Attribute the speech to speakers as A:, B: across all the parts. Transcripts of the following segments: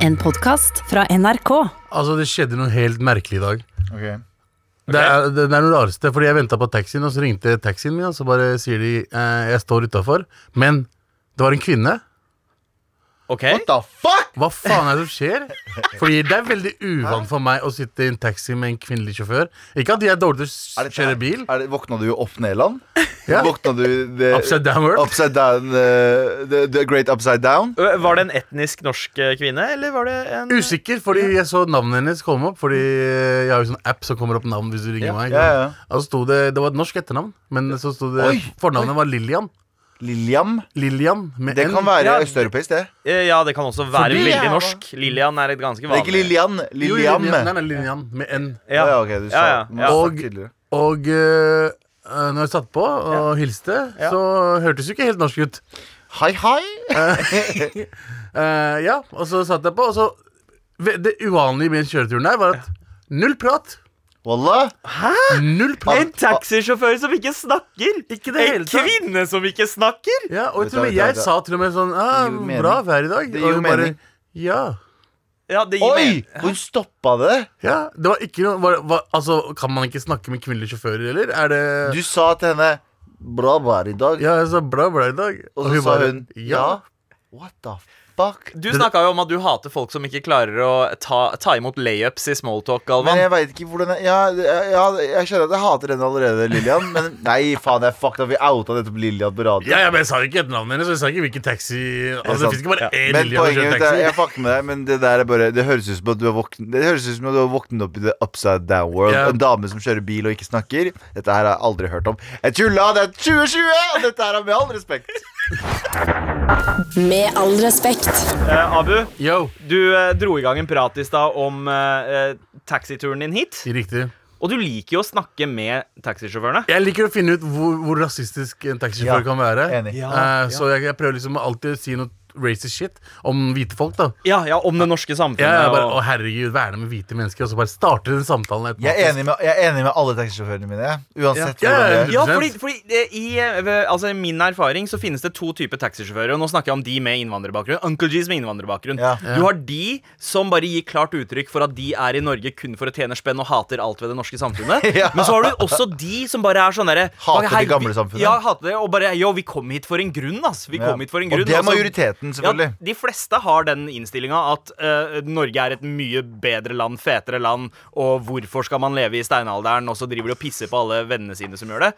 A: En podkast fra NRK.
B: Altså, det skjedde noe helt merkelig i dag.
C: Ok.
B: Det, er, det er noe rareste, fordi jeg venta på taxien, og så ringte taxien min, og så bare sier de eh, 'jeg står utafor', men det var en kvinne.
D: Ok,
C: What the fuck?
B: Hva faen er det som skjer? Fordi det er veldig uvant for meg å sitte i en taxi med en kvinnelig sjåfør. Ikke at jeg er dårlig til å kjøre bil.
C: Er det, våkna du i opp Nederland?
B: Ja.
C: Våkna du det,
B: Upside down world.
C: Upside down eh, the, the Great Upside Down?
D: Ø, Var det en etnisk norsk eh, kvinne, eller var det en
B: Usikker, fordi jeg så navnet hennes komme opp. Fordi jeg har jo sånn app som kommer opp navn hvis du ringer
D: Ja.
B: meg.
C: Ja, ja.
B: Og så sto det, det var et norsk etternavn, men så sto det
C: Oi,
B: Fornavnet var Lillian.
C: Lilliam?
B: Lillian med
C: Det
B: N.
C: kan være
D: Ja.
C: østeuropeisk, det.
D: Eh, Ja, det kan også være
B: Fordi-
D: veldig norsk. Lillian er et ganske
C: Det er ikke
D: vanlig
C: Lillian.
B: Jo,
C: Lilliam.
B: Lillian. Nei, nei, Lillian med N.
C: Ja,
D: Ja.
C: ja, ok, du sa
D: Ja, ja, ja.
C: du sa
B: Og-
C: tidligere.
B: Og eh, når jeg satt på og hilste,
D: Ja.
B: så hørtes jo ikke helt norsk ut.
C: Hei, hei.
B: Eh, ja, og så satt jeg på, og så ve- Det uvanlige med den kjøreturen der var at null prat.
C: Wallah.
B: Null
D: En
B: prat.
D: taxisjåfør som ikke snakker!
B: Ikke det hele
D: en
B: tatt.
D: kvinne som ikke snakker!
B: Ja, og jeg
C: Vet du hva,
B: tror
C: vet du hva,
B: jeg
C: vet du hva.
B: sa til og med sånn ah,
C: Det gir mening.
B: Bra vær i dag.
C: Det
B: Og
C: gir
B: hun bare,
C: mening.
B: Ja.
D: Ja, det gir
C: Oi!
D: mening.
C: Hun stoppa det.
B: ja. Det var ikke noe var, var, Altså, kan man ikke snakke med kvinnelige sjåfører, eller? Er det
C: Du sa til henne 'bra vær i dag',
B: Ja, jeg sa bra vær i dag.
C: og så sa hun
B: ja.
C: 'ja'. What the fuck?
D: Du snakka jo om at du hater folk som ikke klarer å ta, ta imot layups i
C: Men
D: smalltalk, Galvan.
C: jeg veit ikke hvordan jeg, ja, ja, jeg skjønner at jeg hater henne allerede, Lillian. Men nei, faen, jeg fucked up. Vi outa nettopp Lillian på radio.
B: Ja, ja, men jeg sa jo ikke etternavnet hennes, så jeg sa ikke hvilken taxi Altså,
C: sant.
B: det fins ikke bare én
C: Men
B: Lillian som
C: poenget
B: kjører
C: mitt er, jeg
B: taxi.
C: fucker med deg, men det der er bare Det høres ut som at du har våknet Det høres ut som at du har våknet opp i the upside down world.
B: Ja.
C: En dame som kjører bil og ikke snakker. Dette her har jeg aldri hørt om. Jeg tulla! Det er 2020! Og dette her er med all respekt.
A: Med all respekt.
D: Eh, Abu,
B: Yo.
D: du eh, dro i gang en prat i stad om eh, eh, taxituren din hit.
B: Riktig.
D: Og du liker jo å snakke med taxisjåførene.
B: Jeg liker å finne ut hvor, hvor rasistisk en taxisjåfør
C: Ja,
B: kan være.
C: enig.
B: Eh,
D: Ja,
B: Så jeg, jeg prøver liksom å alltid si noe racist shit om hvite folk. da
D: Ja, ja, Om det norske samfunnet.
B: Jeg er bare,
D: og-
B: Å herregud, hva er det med hvite mennesker? Og så bare starter den samtalen. automatisk.
C: Jeg er enig med, jeg er enig med alle taxisjåførene mine. jeg. Uansett
B: Ja.
C: hvordan det er.
D: Ja,
B: 100%.
D: fordi, fordi eh, i eh, ved- altså, min erfaring så finnes det to typer taxisjåfører. Og nå snakker jeg om de med innvandrerbakgrunn. Uncle G's med innvandrerbakgrunn.
C: Ja.
D: Du har de som bare gir klart uttrykk for at de er i Norge kun for å tjene spenn og hater alt ved det norske samfunnet.
C: Ja.
D: Men så har du også de som bare er sånn derre
C: Hater
D: «Hei,
C: det gamle
D: vi-
C: samfunnet».
D: Ja, hater det. Og bare Yo, vi kom hit for en grunn, ass. Vi kom hit for en grunn.
C: Og det er
D: altså-
C: majoriteten, selvfølgelig.
D: ja, de fleste har den innstillinga at eh, Norge er et mye bedre land, fetere land, og hvorfor skal man leve i steinalderen, og så driver de og pisser på alle vennene sine som gjør det.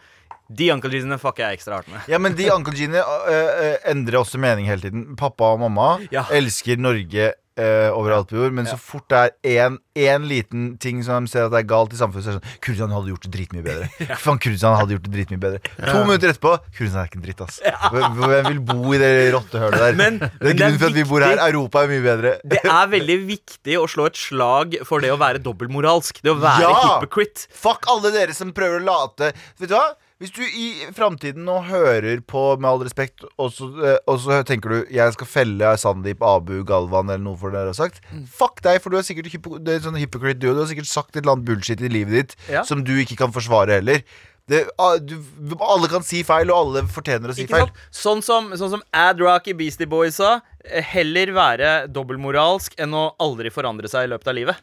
D: De Uncle Jeesene fucker jeg ekstra hardt med.
C: Ja, men de Uncle Genie øh, øh, endrer også mening hele tiden. Pappa og mamma
D: Ja.
C: elsker Norge øh, overalt på jord, men så fort det er én- én liten ting som de ser at det er galt i samfunnet, så er det sånn Kurdistan hadde gjort det dritmye bedre. Faen, Kurdistan hadde gjort det dritmye bedre. To minutter etterpå Kurdistan er ikke en dritt, ass. Hvem hvem vil bo i det rottehølet der?
D: Men-
C: det er
D: men det er
C: grunnen for at vi bor her.
D: viktig.
C: Europa er mye bedre.
D: Det er veldig viktig å slå et slag for det å være dobbeltmoralsk. Det å være
C: Ja!
D: hypocrite.
C: Fuck alle dere som prøver å late Vet du hva? Hvis du i framtiden nå hører på Med all respekt, og så, eh, og så tenker du Jeg skal felle Sandeep, Abu, Galvan eller noe for det dere har sagt.
D: Mm.
C: Fuck deg, for du er sikkert hypo, det er en sånn hypocrite du, og du har sikkert sagt et eller annet bullshit i livet ditt
D: Ja.
C: som du ikke kan forsvare heller. Det, ah, du, alle kan si feil, og alle fortjener å si
D: Ikke
C: feil.
D: sant? Sånn som, sånn som Ad Rock i Beastie Boys sa. eh, Heller være dobbeltmoralsk enn å aldri forandre seg i løpet av livet.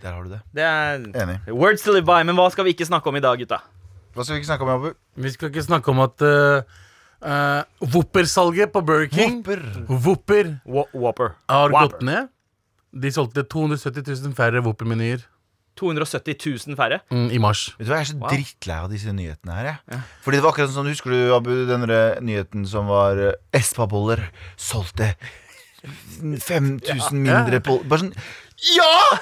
C: Der har du det.
D: Det er
C: Enig.
D: words to live by. Men hva skal vi ikke snakke om i dag, gutta?
C: Hva skal vi ikke snakke om, Abu?
B: Vi skal ikke snakke om at uh, Wopper-salget på Burger King
C: Whopper.
B: Wopper
D: Wha- Whopper.
B: har
D: Whopper.
B: gått ned. De solgte 270 000 færre Wopper-menyer
D: 270 000 færre.
B: mm, i mars.
C: Vet du hva, Jeg er så
D: Wow.
C: drittlei av disse nyhetene her. Jeg. Fordi det var akkurat sånn, Husker du Abu, den der eh, nyheten som var eh, Espa-boller solgte 5000 mindre på Bare sånn Ja!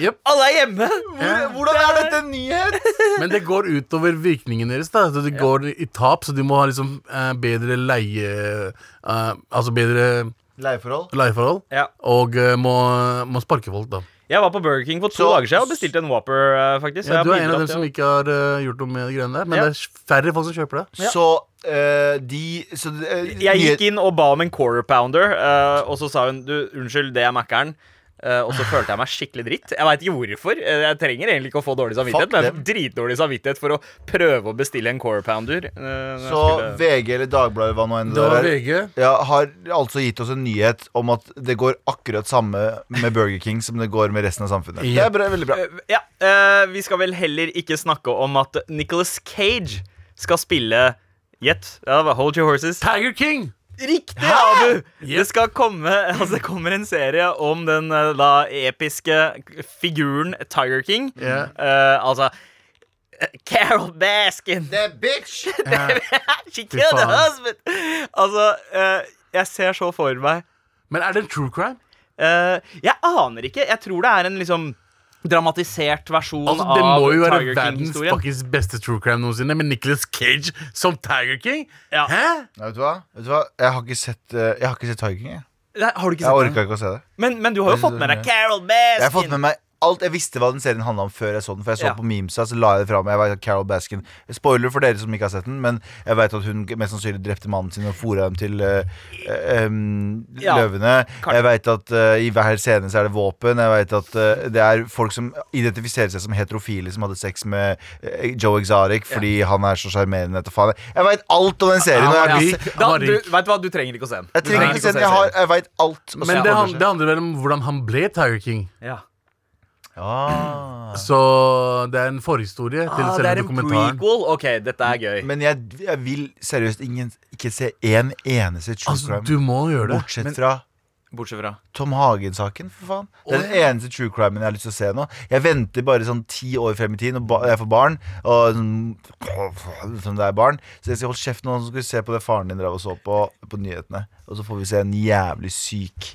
B: Yep.
D: Alle er hjemme!
B: Ja.
C: Hvordan er dette en nyhet?
B: Men det går utover virkningen deres. da så Det går i tap, så de må ha liksom eh, bedre leie... eh, altså bedre
C: Leieforhold.
B: leieforhold.
D: Ja.
B: Og eh, må, må sparke folk, da.
D: Jeg var på Burger King for to
C: Så-
D: dager siden og bestilte en Whopper. eh, faktisk så
B: Ja,
D: jeg
B: du
D: har
B: er en av
D: bidratt
B: dem
D: til
B: som
D: å-
B: ikke har eh, gjort noe med greiene der. Men
D: Ja.
B: det er færre folk som kjøper det.
D: Ja.
C: Så eh, de så, eh,
D: Jeg
C: nyhet-
D: gikk inn og ba om en quarter pounder, eh, og så sa hun du, unnskyld, det er Mækkern. eh, og så følte jeg meg skikkelig dritt. Jeg veit ikke hvorfor. Eh, Jeg trenger egentlig ikke å få dårlig
C: Fuck
D: samvittighet, men
C: dem.
D: jeg får dritdårlig samvittighet for å prøve å bestille en core pounder. eh, når jeg
C: Så
D: skulle-
C: VG eller Dagbladet, hva nå enn
B: Det
C: det
B: var
C: er,
B: VG.
C: ja, har altså gitt oss en nyhet om at det går akkurat samme med Burger King som det går med resten av samfunnet. Det er bra, veldig bra.
D: Eh, ja, eh, vi skal vel heller ikke snakke om at Nicolas Cage skal spille Gjett. Ja, det var Hold Your Horses.
B: Tiger King!
D: Riktig, Abu! Det skal komme Altså, det kommer en serie om den eh, da episke figuren Tiger King.
B: Ja.
D: Eh, altså eh, Carol Baskin!
C: The bitch!
B: Ja.
D: She killed her
B: faen.
D: husband! Altså, eh, jeg ser så for meg
B: Men er det en true crime?
D: Eh, Jeg aner ikke. Jeg tror det er en liksom dramatisert versjon
B: Altså, det
D: av
B: må jo være
D: Tiger
B: verdens
D: King-historien.
B: fuckings beste true crime noensinne, med Nicolas Cage som Tiger King.
D: Ja.
B: Hæ?
C: Ja, vet du hva? Vet du hva? Jeg har ikke sett, eh, jeg har ikke sett Tiger King. Jeg,
D: Nei, Har du ikke
C: jeg
D: sett den?
C: orka ikke å se det.
D: Men, men du har jo fått med deg Carol Baskin.
C: Jeg har fått med meg alt Jeg visste hva den serien handla om før jeg så den. For jeg så
D: Ja.
C: på memesa, så la jeg det fra meg. Jeg vet at Carol Baskin Spoiler for dere som ikke har sett den, men jeg vet at hun mest sannsynlig drepte mannen sin og fôra dem til eh, eh, em,
D: Ja,
C: løvene.
D: kanskje.
C: Jeg vet at eh, i hver scene så er det våpen. Jeg vet at eh, det er folk som identifiserer seg som heterofile, som hadde sex med eh, Joe Exotic fordi han er så sjarmerende. vet du faen. Jeg veit alt om den serien.
B: Ja,
C: og
B: han er
C: jeg,
B: rik.
C: jeg,
D: da,
B: Han var
D: du,
B: rik.
D: vet du hva, du trenger ikke å se den.
C: jeg
D: altså, Du
C: trenger ikke se den. Jeg, har-
D: serien.
C: jeg veit alt.
B: Men det, han,
D: seg.
B: det handler vel om hvordan han ble Tiger King.
D: Ja.
C: Ah.
B: Så det er en forhistorie til
D: Ah, det
B: selve
D: er en
B: dokumentaren.
D: prequel. Ok, dette er gøy.
C: Men jeg, jeg vil seriøst ingen, ikke se en eneste true
B: Altså,
C: crime.
B: du må gjøre det.
C: Bortsett fra
D: Bortsett fra
C: Tom Hagen-saken, for faen. Det
B: Å,
C: er den eneste true crimen jeg har lyst til å se nå. Jeg venter bare sånn ti år frem i tid når ba- jeg får barn. Og sånn, som det er barn Så jeg skal holde kjeft nå, så skal vi se på det faren din drev og så på på nyhetene. Og så får vi se en jævlig syk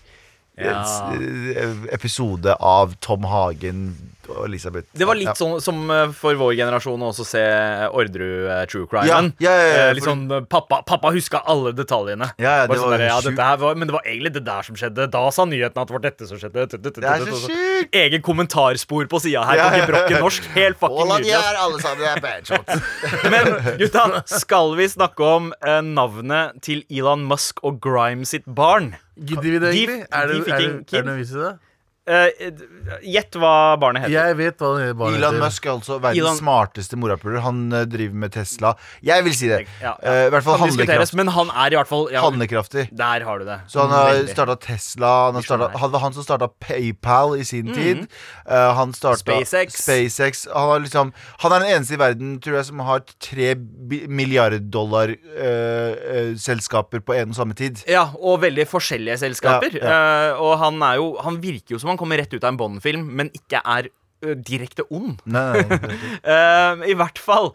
C: eh,
D: Ja.
C: s- eh, episode av Tom Hagen og Elisabeth.
D: Det var litt
C: Ja.
D: sånn som eh, for vår generasjon å også se Orderud eh, True Crime.
C: Ja, ja, ja, ja,
D: litt
C: for-
D: sånn eh, pappa, pappa huska alle detaljene.
C: Ja, ja,
D: Bare
C: det
D: sånn
C: var
D: der, ja,
C: sjukt.
D: dette her var, men det var egentlig det der som skjedde. Da sa nyheten at det var dette som skjedde. Tut, tut, tut,
C: Det er
D: tut,
C: så
D: tut.
C: sjukt!
D: Egen kommentarspor på sida her
C: Ja, ja,
D: på
C: ja.
D: gebrokken norsk. Helt fucking
C: Hvordan
D: nydelig. ass.
C: gjør alle sammen det? er bad shots.
D: Men gutta, skal vi snakke om eh, navnet til Elon Musk og Grime sitt barn?
B: Gidder vi det,
D: De-
B: egentlig? Er det,
D: de fikk
B: er det,
D: en
B: er det
D: kid.
B: noe vis i det?
D: Eh, eh, Gjett hva barnet heter.
B: Jeg vet hva det bare
C: Elon Musk er altså verdens
D: Elon-
C: smarteste morapuler. Han eh, driver med Tesla. Jeg vil si det.
D: Ja, ja.
C: Eh, I hvert fall
D: Kan diskuteres,
C: handlekraft,
D: men han er i hvert fall ja,
C: handlekraftig.
D: Der har du det.
C: Så han har
D: Veldig.
C: starta Tesla. Han har startet,
D: Visjonær.
C: han var han som starta PayPal i sin tid. Eh, han starta
D: Mhm. SpaceX.
C: SpaceX. Han, har liksom, han er den eneste i verden tror jeg, som har tre bi- milliard dollar eh, eh, selskaper på en og samme tid.
D: Ja, og veldig forskjellige selskaper.
C: Ja,
D: Eh, og han, er jo, han virker jo som han kommer rett ut av en Bond-film, men ikke er ø, direkte ond.
C: Nei, nei, nei.
D: Eh, I hvert fall.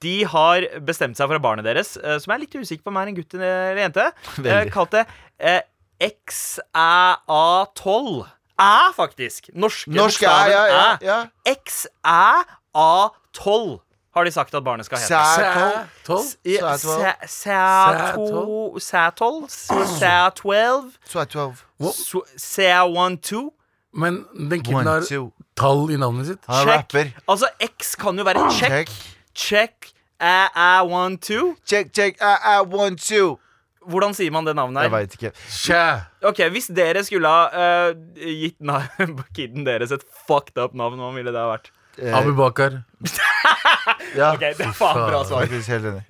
D: De har bestemt seg for at barnet deres, eh, som jeg er litt usikker på om er en gutt eller jente, uh,
C: Veldig.
D: kalt det eh, XÆA12. Æ, faktisk. Norske
C: Norsk er
D: bokstaven
C: ja, ja,
D: æ.
C: ja.
D: XÆA12 har de sagt at barnet skal hete.
C: Sæ-
B: Sæ- Tolv?
C: Sæ-
D: Sæ- Sæ- to- Sæ12? Sæ12?
C: Så er 12.
D: CR12
B: Men den kiden
C: One,
B: har
C: two.
B: tall i navnet sitt.
C: Han er rapper.
D: Altså X kan jo være check
C: Check.
D: Check I12
C: Check, check, Ah, I, I want you.
D: Hvordan sier man det navnet
C: Jeg
D: her?
C: veit ikke.
B: Tja.
D: Ok, hvis dere skulle ha eh, gitt na- kiden deres et fucked up navn Hva ville det ha vært?
C: Eh,
B: Abu Bakar.
C: ja.
D: Ok, det er faen bra
C: Jeg
D: svar
C: er faktisk helt enig.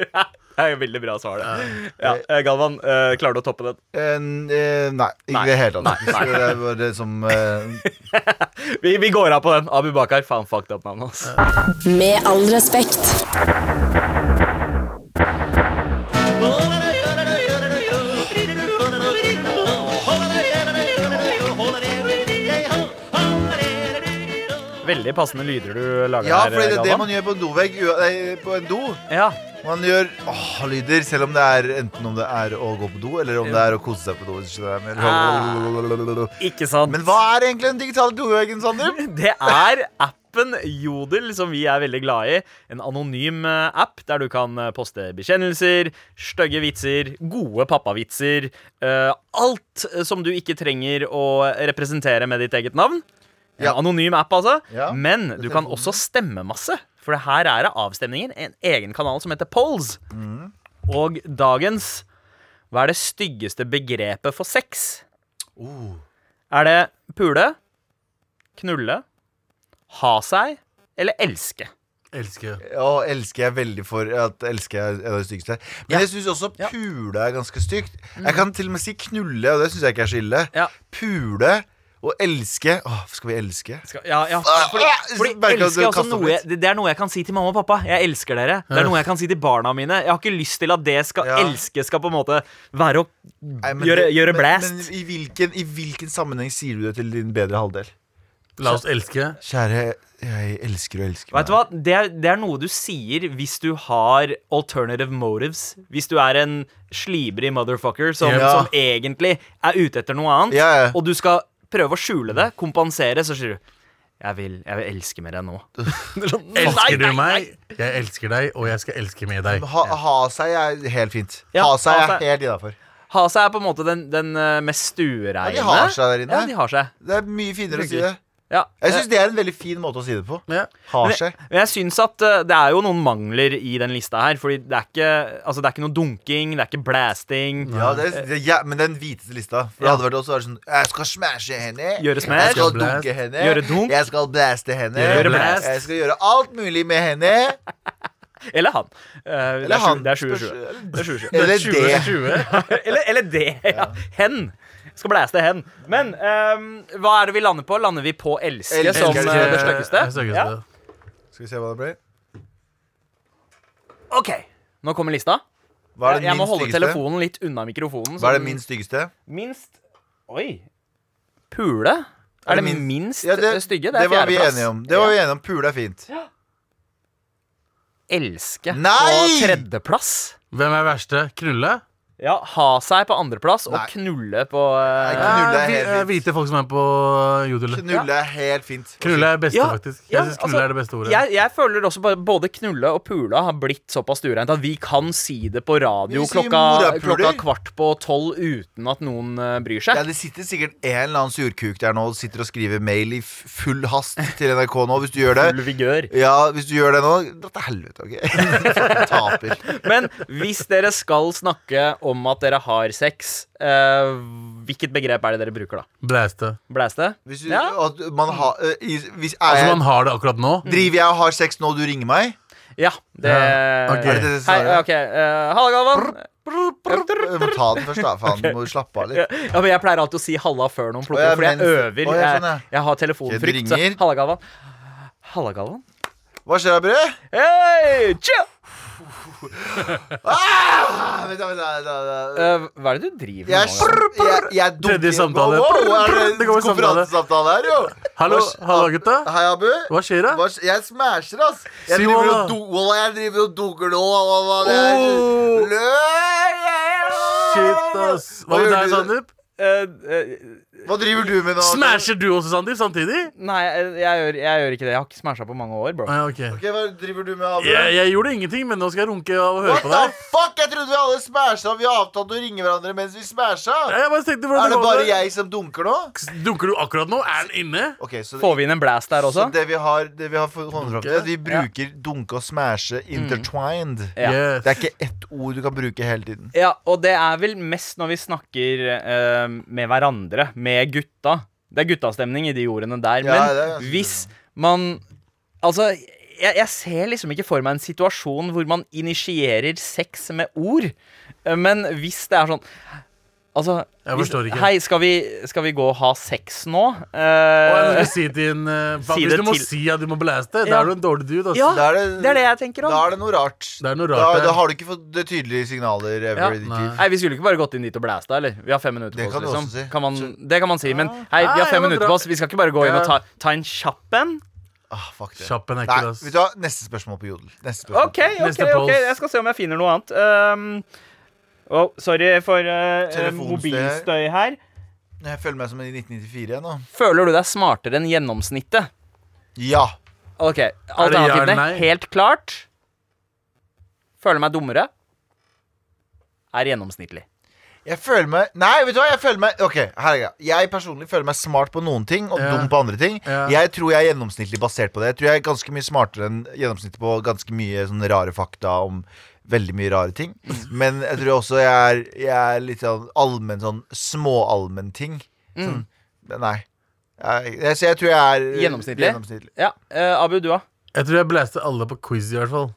D: Det er jo veldig bra svar det ja, eh, Galvan, eh, klarer du å toppe den?
C: Eh, n- eh, nei, ikke i
D: Nei.
C: det hele tatt.
D: Nei, nei.
C: Det er bare som eh,
D: Vi, vi går av på den Abu Bakar, faen fucked up navn hans
A: Med all respekt.
D: Veldig passende lyder du lager
C: Ja,
D: her,
C: for det er det
D: Galvan
C: man gjør på en dovegg. ua- nei, På en do.
D: Ja,
C: Man gjør åh, lyder, selv om det er enten om det er å gå på do, eller om det er å kose seg på do. hvis du skjønner hva jeg mener.
D: ikke sant
C: Men hva er egentlig den digitale doveggen, Sander?
D: Det er appen Jodel, som vi er veldig glad i. En anonym eh, app der du kan eh, poste bekjennelser, stygge vitser, gode pappavitser. eh, alt eh, som du ikke trenger å representere med ditt eget navn. En
C: Ja.
D: anonym app, altså.
C: Ja,
D: Men du kan
C: telefonen.
D: også stemme masse. For det her er det avstemninger. En egen kanal som heter Polls.
C: Mm.
D: Og dagens
C: Oh.
D: Hva er det styggeste begrepet for sex? Er det pule? knulle, ha seg eller elske.
B: Elsker.
C: Ja, elsker jeg veldig for at elsker jeg er det styggeste. Men
D: Ja.
C: jeg syns også
D: Ja. Mhm.
C: pule er ganske stygt. Jeg kan til og med si knulle, og det syns jeg ikke er så ille.
D: Ja.
C: Pule og elske Åh, skal vi elske?
D: Skal, ja, ja.
C: Ah,
D: Fordi,
C: ah,
D: fordi
C: merker at du
D: elsker er også
C: kaster opp
D: noe jeg,
C: litt.
D: det det er noe jeg kan si til mamma og pappa. Jeg elsker dere. Det er noe jeg kan si til barna mine. Jeg har ikke lyst til at det skal
C: Ja.
D: elske skal på en måte være å
C: Nei, men
D: gjøre,
C: det-
D: gjøre
C: men-
D: blast.
C: Men, i, hvilken, i hvilken sammenheng sier du det til din bedre halvdel?
B: La oss elske.
C: Kjære, jeg elsker og elsker
D: Vet du hva? Det er, det er noe du sier hvis du har alternative motives. Hvis du er en slibrig motherfucker som,
C: Ja.
D: som egentlig er ute etter noe annet,
C: Ja, ja.
D: og du skal prøve å skjule det, kompensere, så sier du jeg vil, jeg vil elske mer enn nå.
B: Elsker du
D: nei,
B: meg? Jeg elsker deg, og jeg skal elske med deg.
C: Ha, ha seg er helt fint.
D: Ja,
C: ha seg
D: ha
C: er
D: seg.
C: helt innafor.
D: Ha seg er på en måte den, den eh, mest stuereine.
C: Ja, de har seg der inne.
D: Ja, de har seg.
C: Det er mye finere å si det.
D: Ja.
C: Jeg syns det er en veldig fin måte å si det på.
B: Ja.
C: Ha
D: Men
C: seg.
D: jeg, men jeg syns at eh, det er jo noen mangler i den lista her. Fordi det er ikke, altså, det er ikke noe dunking, det er ikke blasting.
C: Ja, det er, det, ja, men den hviteste lista. For det
D: Ja.
C: hadde vært også vært sånn Jeg skal smashe henne.
D: Gjøre smash.
C: Jeg skal
B: Skal blast.
C: dunke henne.
D: Gjøre dunk.
C: Jeg skal blaste henne.
B: Gjøre blast.
C: Jeg skal gjøre alt mulig med henne.
D: Eller han. Eh, det
C: Eller
D: er sju-
C: han.
D: Det er 27.
C: Spørs-
D: Det er 27.
C: Eller det.
B: 2020.
D: eller, eller det, ja. Hen. Skal blæste hen. Men ehm, hva er det vi lander på? Lander vi på elske
C: Elsker.
D: som eh, det
C: Elsker.
D: styggeste? Ja.
C: Skal vi se hva det blir.
D: OK. Nå kommer lista.
C: Hva er det
D: jeg må
C: min
D: holde
C: styggeste?
D: telefonen sånn- litt unna
C: Hva
D: mikrofonen.
C: er
D: så
C: det
D: den
C: min styggeste?
D: minst Oi. Pule? Er det minst
C: Ja, det-
D: stygge? Det
C: Det
D: er
C: var vi
D: fjerdeplass.
C: enige om. Det var vi enige om. Pule er fint.
D: Elske
C: Nei!
D: på tredjeplass.
B: Hvem er verste? Knulle?
D: Ja, ha seg på andreplass og
C: Nei.
D: knulle på eh,
C: Nei, Knulle er
B: Ja, vi-
C: helt
B: eh,
C: fint.
B: Hvite folk som er på jodel.
C: Knulle er helt fint.
B: Knulle er beste,
D: Ja,
B: faktisk.
D: ja,
B: Jeg syns knulle
D: altså,
B: er det beste ordet.
D: Jeg, jeg føler også bare både knulle og pula har blitt såpass stuereint at vi kan si det på radio
C: Vi sier
D: klokka,
C: morapuler.
D: klokka kvart på tolv uten at noen eh, bryr
C: Ja,
D: seg.
C: Det sitter sikkert en eller annen surkuk der nå og sitter og skriver mail i f- full hast til NRK nå, hvis du gjør det.
D: Full vigør.
C: Ja, hvis du gjør det nå Dra til helvete, OK? Fucking Taper.
D: Men hvis dere skal snakke om at dere har sex, eh, hvilket begrep er det dere bruker da?
B: Blæste.
D: Blæste?
C: Hvis, du,
D: Ja.
C: at man har eh, i- hvis er
B: Altså,
C: jeg,
B: man har det akkurat nå.
C: Driver jeg og har sex nå, og du ringer meg?
D: Ja, det
B: Ja, ok.
C: Er det det som
D: Hei,
C: er det?
D: ok. eh, Halla, Galvan.
C: Jeg må ta den først, da. Faen, du må jo slappe av litt.
D: Ja, men Jeg pleier alltid å si 'halla' før noen
C: Å,
D: plukker,
C: ja,
D: opp, fordi jeg
C: men-
D: øver.
C: Å, ja, sånn, ja.
D: jeg, jeg har
C: Ok,
D: telefonfrykt.
C: du
D: så
C: ringer.
D: 'Halla, Galvan'. Halla, Galvan.
C: Hva skjer da, brød?
D: Hei! tja!
C: Ah! Vent, da, vent, da, da, da.
D: Eh, hva er det du driver
C: Jeg,
D: med? nå?
C: jeg, jeg dunker
B: Tredje samtale.
C: Wow, wow, er det
B: Det går i samtale.
C: Konferansesamtale her, jo.
B: Hallo,
C: Hva sk-
B: hallo, gutta.
C: Hei, Abu.
B: Hva skjer da?
C: Hva sk- Jeg smasher, ass. Jeg
B: Si
C: driver
B: hva
C: og
B: da.
C: do- Wallah, jeg driver og dunker nå. og hva- hva- det er-
B: Oh.
D: liksom?
C: Lø-
B: Shit, ass. Hva med
C: gjør
B: deg,
C: du?
B: Sandeep?
D: Eh, eh,
C: Hva driver du med nå?
B: Smasher du også, Sandeep, samtidig?
D: nei, jeg, jeg, gjør, jeg gjør ikke det. Jeg har ikke smasha på mange år, bro.
B: Ah, ja, ok.
C: Ok, Hva driver du med, Abu?
B: Jeg, jeg gjorde ingenting, men nå skal jeg runke av å høre
C: What
B: på
C: the
B: deg.
C: fuck? Jeg trodde vi alle smasha. Vi avtalte å ringe hverandre mens vi smasha.
B: Jeg bare tenkte hvordan
C: Er det
B: går
C: bare
B: med deg.
C: jeg som dunker nå?
B: Dunker du akkurat nå? Er den inne?
C: Ok, så
D: Får vi inn en blast der
C: så
D: også?
C: det vi har, det vi har fått kommet fram til, er at vi bruker dunke og smashe
D: Mm.
C: intertwined.
D: Ja.
C: Det er
B: Yes.
C: ikke ett ord du kan bruke hele tiden.
D: Ja, og det er vel mest når vi snakker eh, med hverandre, med gutta. Det er guttastemning i de ordene der.
C: Ja, det er
D: Men
C: ganske
D: hvis man Altså, jeg, jeg ser liksom ikke for meg en situasjon hvor man initierer sex med ord. Eh, Men hvis det er sånn Altså
B: Jeg
D: hvis-
B: forstår ikke.
D: Hei, skal vi, skal vi gå og ha sex nå? Eh,
B: Og jeg må si til en, eh, faen,
D: Si
B: hvis
D: det
B: du må
D: til-
B: si at du må blæste, da
D: Ja.
B: er du en dårlig dude. ass.
D: ja,
C: Da er det-
D: Ah, det er det jeg tenker
C: Da
D: om.
C: er det noe rart.
B: Det er noe rart,
C: Da,
B: det.
C: da har du ikke fått det tydelige signaler ever
D: Ja.
C: i ditt
B: Nei.
C: liv.
D: Nei, Vi skulle ikke bare gått inn dit og blæsta, eller? Vi har fem minutter
C: Det
D: på
C: kan
D: oss.
C: du
D: liksom
C: også si.
D: kan man, Det kan man si, men hei, vi
B: Ja,
D: har
B: jeg
D: fem
B: må
D: minutter
B: dra-
D: på oss. Vi skal ikke bare gå inn
B: Ja.
D: og ta, ta en kjapp en.
C: Ah, fuck det.
B: Kjapp en
C: Nei,
B: ekkel, ass.
C: vet du hva? Neste spørsmål på Jodel. Neste spørsmål.
D: OK, ok,
B: Neste
D: ok,
B: post.
D: jeg skal se om jeg finner noe annet. Um, å, sorry for eh, eh,
C: Telefonstøy.
D: mobilstøy her.
C: Jeg føler meg som i 1994 igjen nå.
D: Føler du deg smartere enn gjennomsnittet?
C: Ja.
D: OK,
B: det ja eller
D: alternativene
B: nei?
D: helt klart. Føler meg dummere. Er gjennomsnittlig.
C: Jeg føler meg Nei, vet du hva? Jeg føler meg Ok, her er greia. Jeg personlig føler meg smart på noen ting og
B: Ja.
C: dum på andre ting.
B: Ja.
C: Jeg tror jeg er gjennomsnittlig basert på det. Jeg tror jeg er ganske mye smartere enn gjennomsnittet på ganske mye sånne rare fakta om veldig mye rare ting. Men jeg tror også jeg er,
B: Mm.
C: jeg er litt sånn allmenn sånn småallmenn ting. Sånn Nei. Jeg, jeg, så jeg tror jeg er
D: Gjennomsnittlig? Ja, eh, Abu, du da?
B: Jeg tror jeg blæste alle på quiz, i hvert fall.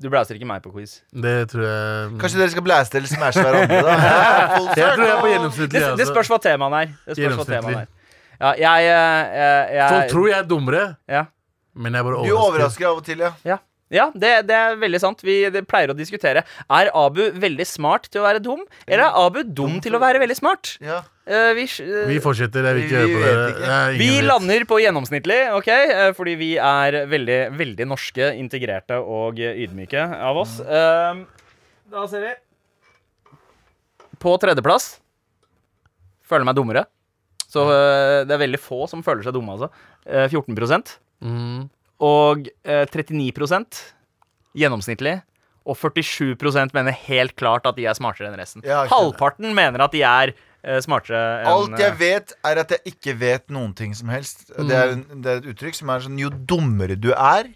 D: Du blæster ikke meg på quiz.
B: Det tror jeg
C: Kanskje dere skal blæste eller smashe hverandre, da? Ja, full
B: Jeg tror jeg er på
C: circle.
D: Det,
B: gjennomsnittlig.
D: det
B: altså.
D: spørs hva temaet er. Det spørs hva temaet
B: Gjennomsnittlig.
D: er. Ja, jeg, eh, jeg,
B: Folk
D: jeg
B: tror jeg er dummere,
D: ja.
B: men jeg er bare
C: Du overrasker av og til, ja.
D: Ja, ja det, det er veldig sant. Vi det pleier å diskutere. Er Abu veldig smart til å være dum, eller er Abu dum til å være veldig smart?
C: ja.
D: Eh, vi, s-
B: Vi fortsetter. Jeg vil ikke
C: Vi- vi
B: høre på
C: vet
B: dere.
C: ikke.
B: Jeg er ingen
D: vi
B: vits.
D: lander på gjennomsnittlig, ok? Eh, Fordi vi er veldig, veldig norske, integrerte og ydmyke av oss. Eh, da ser vi. På tredjeplass føler meg dummere. Så eh, det er veldig få som føler seg dumme, altså. Eh, 14
B: Mhm.
D: og eh, 39 gjennomsnittlig. Og 47 mener helt klart at de er smartere enn resten.
C: Ja, ikke sant.
D: Halvparten mener at de er eh, smartere enn
C: Alt jeg
D: eh, Mm.
C: vet, er at jeg ikke vet noen ting som helst. Det er, en- det er et uttrykk som er sånn Jo dummere du er,